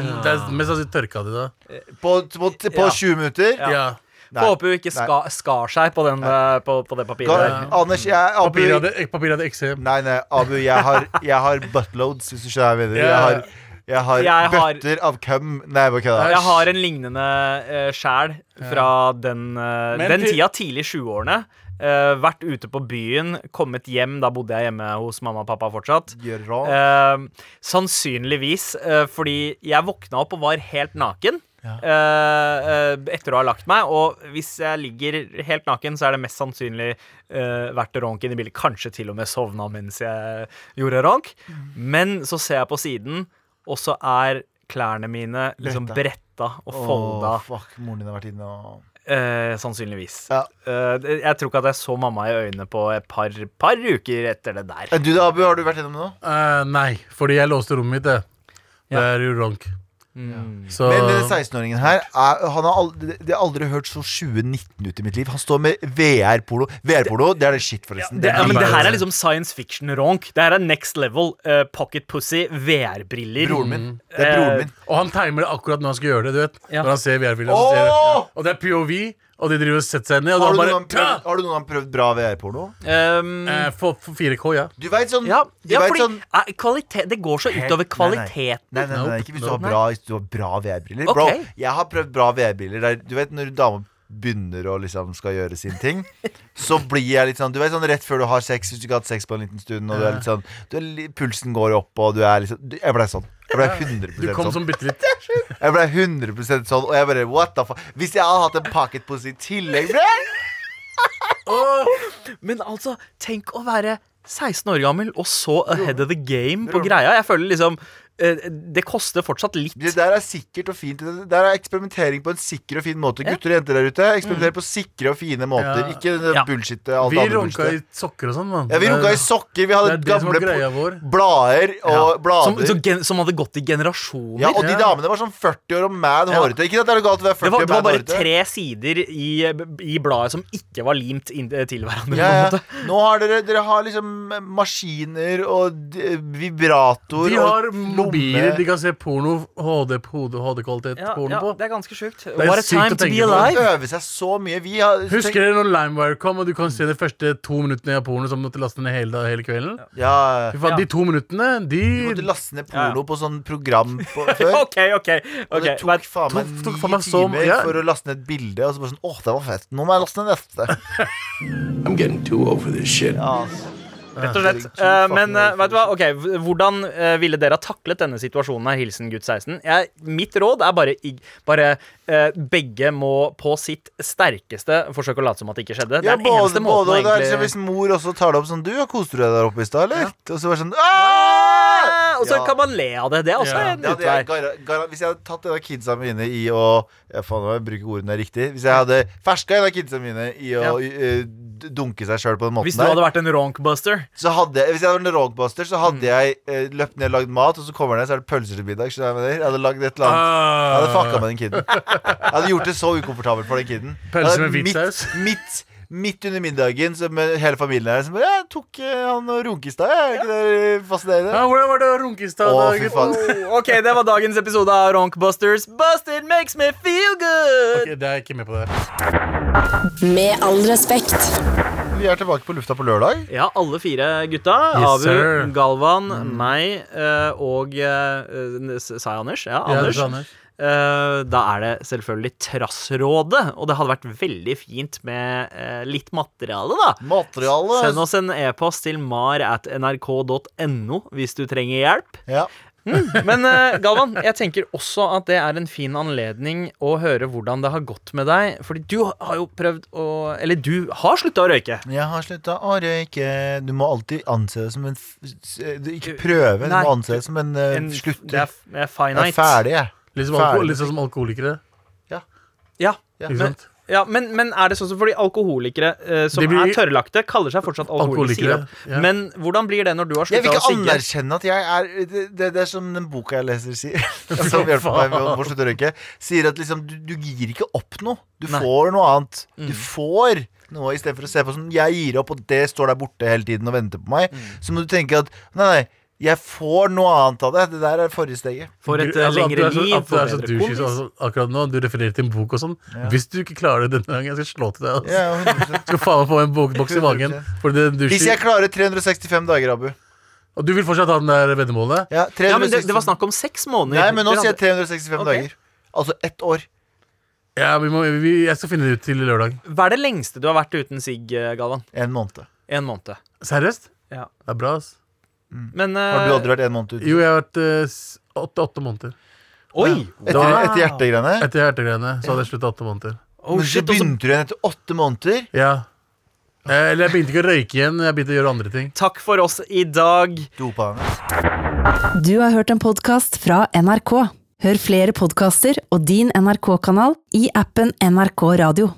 B: Det er mest sannsynlig tørka de da.
C: På, på, på
D: Ja.
C: 20 minutter?
B: Ja.
C: Nei.
D: Håper hun ikke ska, skar seg på, den, eh, på, på det papiret.
C: Ga,
D: der.
C: Anders, jeg Abu,
B: Papiret hadde, papiret hadde eksem.
C: Nei, nei, Abu, jeg har, jeg har buttloads, hvis du skjønner hva jeg mener. Jeg har, jeg har
D: Jeg har-
C: bøtter av cum. Nei, jeg bare kødder.
D: Jeg har en lignende uh, sjæl fra den, eh,
B: Men
D: den
B: til-
D: tida, tidlig 20-årene. Eh, vært ute på byen, kommet hjem. Da bodde jeg hjemme hos mamma og pappa fortsatt.
C: Gjør råd.
D: Eh, sannsynligvis eh, fordi jeg våkna opp og var helt naken. eh, eh, etter å ha lagt meg. Og hvis jeg ligger helt naken, så er det mest sannsynlig eh, vært ronk inn i bildet. Kanskje til og med sovna mens jeg gjorde ronk. Men så ser jeg på siden, og så er klærne mine liksom bretta og folda.
C: Åh, fuck, moren din har vært inne og
D: eh, sannsynligvis.
C: Ja.
D: Eh, jeg tror ikke at jeg så mamma i øynene på et par, par uker etter det der.
C: Eh, Du da, Abu, har du vært gjennom det nå?
B: Eh, nei, fordi jeg låste rommet mitt, det. Det
D: Ja.
B: er jo ronk.
D: Mm.
B: Så
C: Men eh,
D: Eh,
C: den 16-åringen her, er, han har aldri, det har aldri hørt så 2019 ut i mitt liv. Han står med VR-polo. VR-polo, det er det shit, forresten.
D: Det, ja, men
C: er
D: det her
C: bare-
D: er liksom science fiction-ronk. Det her er next level eh, pocket pussy, VR-briller.
C: Broren min. Det
D: Mm.
C: er broren
D: Eh,
C: min.
B: Og han timer det akkurat når han skal gjøre det. du vet
D: Ja.
B: Når han ser VR-videoen
C: Åh!
B: så ser han- Og det er POV, og de driver og setter seg ned. Og
C: Har du,
B: da
C: noen gang
B: bare
C: prøvd,
B: Ta!
C: har du noen gang prøvd bra VR-porno?
D: Um,
B: Eh, for, for 4K, ja.
C: Du veit sånn,
D: ja,
C: du
D: ja
C: vet
D: fordi
C: sånn
D: eh, kvalitet, det går så utover kvaliteten.
C: Nei, nei, nei, nei, ikke hvis du har
B: Nope.
C: bra, hvis du har bra VR-briller. Bro,
D: Ok.
C: jeg har prøvd bra VR-briller der Du vet når damer begynner å liksom skal gjøre sin ting, så blir jeg litt sånn Du vet sånn rett før du har sex, hvis du ikke har hatt sex på en liten stund, og du er litt sånn du er, li- Pulsen går opp, og du er liksom du- Jeg blei sånn. Jeg blei 100
B: Du kom
C: sånn.
B: som bitte litt.
C: Jeg ble 100 sånn, og jeg bare What the fuck? Hvis jeg hadde hatt en pocket pussy i tillegg, bre!
D: Men altså, tenk å være 16 år gammel og så ahead of the game på greia. Jeg føler liksom eh, Det koster fortsatt
C: Det
D: litt.
C: der er sikkert og fint. Det der er eksperimentering på en sikker og fin måte. Gutter og jenter der ute, eksperimenter på sikre og fine måter.
B: Ja.
C: Ikke det
D: Ja.
C: bullshit. Alt
B: Vi
C: det andre
B: runka i
C: bullshit.
B: sokker og sånn, mann.
C: Ja, vi runka i sokker. Vi hadde
B: det er det som var
C: gamle
B: greia
C: po-
B: vår.
C: blader og
D: Som,
C: blader.
D: som, gen, som hadde gått i generasjoner.
C: ja, og
B: Ja.
C: de damene var sånn 40 år og mad hårete. Ikke at det er noe galt å være
D: det
C: 40
D: var,
C: og
D: det var
C: mad
D: bare
C: hårete.
D: tre sider i, i bladet som ikke var limt inn, til hverandre.
C: Ja,
D: på
C: ja.
D: en måte.
C: Nå har dere, dere har liksom maskiner og d- eh, vibrator
B: De har
C: og
B: mobiler, de kan se porno, HD, HD-kvalitet
D: Ja,
B: porno
D: ja,
B: på.
D: det er ganske sjukt.
B: er
D: What a
B: sykt
D: time
B: å
D: to be
B: tenke på.
D: alive.
C: øve seg så mye. Vi har
B: Husker dere når LimeWire kom, og du kan se de første to minuttene av porno som måtte laste ned hele, hele kvelden?
C: Ja,
B: Fy faen, De to minuttene, de
C: vi måtte laste ned
D: Ja, ja.
C: porno på sånn program på, før.
D: OK, OK.
C: Og
D: ok,
C: det tok
D: men-
C: faen meg
B: tok-
C: ni
B: tok faen meg så-
C: timer
B: ja.
C: for å laste ned et bilde. Og så bare sånn Åh, det var fett. Nå må jeg laste ned neste.
H: I'm getting too old for this shit.
C: Ja.
D: Rett og slett.
C: Herregud,
D: Eh,
C: fucking
D: men eh,
C: hell.
D: vet du hva, ok, v- hvordan eh, ville dere ha taklet denne situasjonen her, hilsen gutt 16? Jeg, mitt råd er bare, ig- bare eh, begge må på sitt sterkeste forsøke å late som at det ikke skjedde. Det
C: Ja,
D: er den
C: både,
D: eneste
C: både,
D: måten
C: og
D: å
C: det er liksom
D: egentlig
C: Hvis mor også tar det opp sånn Du, ja, koste du deg der oppe i stad, eller? Og så bare sånn Aah!
D: Eh, Og så
C: Ja.
D: kan man le av det. Det er også
B: Ja.
D: en
C: Ja, det er
D: utvei.
C: gara, gara, hvis jeg hadde tatt en av kidsa mine i å ja, Faen, nå må jeg bruker ordene riktig. Hvis jeg hadde ferska en av kidsa mine i å
D: Ja.
C: eh, d- dunke seg sjøl på den måten
D: Hvis du hadde
C: der,
D: vært en ronkbuster.
C: så hadde jeg, hvis jeg var en roadbuster, så
D: Mm.
C: hadde jeg eh, løpt ned og lagd mat, og så kommer jeg ned, så er det pølser til middag. skjønner du hva Jeg, mener? jeg hadde lagd et eller annet. Jeg
D: Ah.
C: hadde fucka med den kiden. Jeg hadde gjort det så ukomfortabelt for den kiden.
B: Pølse med hvit
C: midt,
B: saus.
C: Midt, midt under middagen så med hele familien her som bare Jeg tok eh, han og runke i stad, jeg. Er ikke det fascinerende?
B: Ja, hvordan var det å runke i stad?
C: Å,
B: da,
C: fy
B: gutt?
C: faen.
D: OK, det var dagens episode av Ronkbusters. Busted makes me feel good.
B: Ok, det er jeg ikke med på det. her.
A: Med all respekt.
C: Vi er tilbake på lufta på lørdag.
D: Ja, alle fire gutta.
B: Yes,
D: Abu,
B: sir.
D: Galvan, meg eh, og eh, s- Sa jeg Anders? Ja,
B: Ja, det
D: Anders.
B: sa Anders.
D: Eh, da er det selvfølgelig Trassrådet. Og det hadde vært veldig fint med eh, litt materiale, da.
C: Materialet
D: Send oss en e-post til mar at nrk.no hvis du trenger hjelp.
C: ja.
G: Men eh, Galvan, jeg tenker også at det er en fin anledning å høre hvordan det har gått med deg. Fordi du har jo prøvd å Eller du har slutta å røyke.
C: Jeg har slutta å røyke. Du må alltid anse det som en f- s- eh, du, Ikke prøve, du
D: Nei.
C: må anse det som en, eh,
D: En-
C: slutter.
D: Det er, det er
C: Jeg
D: finite.
C: er ferdig, jeg.
B: Litt som, alko
C: Ferdig.
B: litt sånn som alkoholikere.
D: Ja.
C: Ja.
B: Ikke
C: Men,
B: sant?
G: Ja, men, men er det sånn som fordi alkoholikere eh, som
B: De blir-
G: er tørrlagte, kaller seg fortsatt alkoholikere?
B: Alkoholikere. Ja.
G: Men hvordan blir det når du har
C: jeg vil
G: slutta å
C: ikke
G: sigge?
C: anerkjenne at jeg er Det, det, det er som den boka jeg leser sier, som hjelper meg med å må slutte å røyke, sier at liksom du, du gir ikke opp noe. Du får noe annet. Du får noe istedenfor å se på som jeg gir opp, og det står der borte hele tiden og venter på meg. Så må du tenke at nei, nei, jeg får noe annet av det. Det der er forrige steget.
D: For et
B: Du-
D: eh,
B: altså, at du
D: lengre
B: er så-
D: liv,
B: At du
D: for
B: er så
D: bedre
B: douche
D: kompis.
B: altså, akkurat nå. Du refererer til en bok og sånn. Hvis du ikke klarer det denne gangen, jeg skal slå til deg. Altså.
C: Ja, 100%.
B: Skal faen meg få en bokboks i magen. For det
C: Hvis jeg
B: douche.
C: klarer 365 dager, Abu
B: Og du vil fortsatt ha den der veddemålet?
C: ja,
D: Ja, men det,
C: 365
D: det var snakk om seks måneder.
C: Nei, men nå
D: Dere
C: sier jeg
D: hadde-
C: 365
D: Ok.
C: dager. Altså ett år.
B: Ja, vi må, vi, jeg skal finne det ut til lørdag.
D: Hva er det lengste du har vært uten sigg, eh, Galvan?
C: En måned.
D: En måned.
B: Seriøst?
D: Ja.
B: Det er bra, ass. Mm.
D: Men
C: Har du
D: eh,
C: aldri vært en måned uten?
B: Jo, jeg har vært eh, s- åtte, åtte måneder.
D: Oi!
C: Etter,
B: Da-
C: etter hjertegreiene?
B: Etter hjertegreiene så hadde jeg sluttet åtte måneder.
D: Oh,
C: men så
D: shit, og så-
C: begynte du igjen etter åtte måneder.
B: Ja. Eh, Eller jeg begynte ikke å røyke igjen, jeg begynte å gjøre andre ting.
D: Takk for oss i dag.
C: Dopa han.
I: Du har hørt en podkast fra NRK. Hør flere podkaster og din NRK-kanal i appen NRK Radio.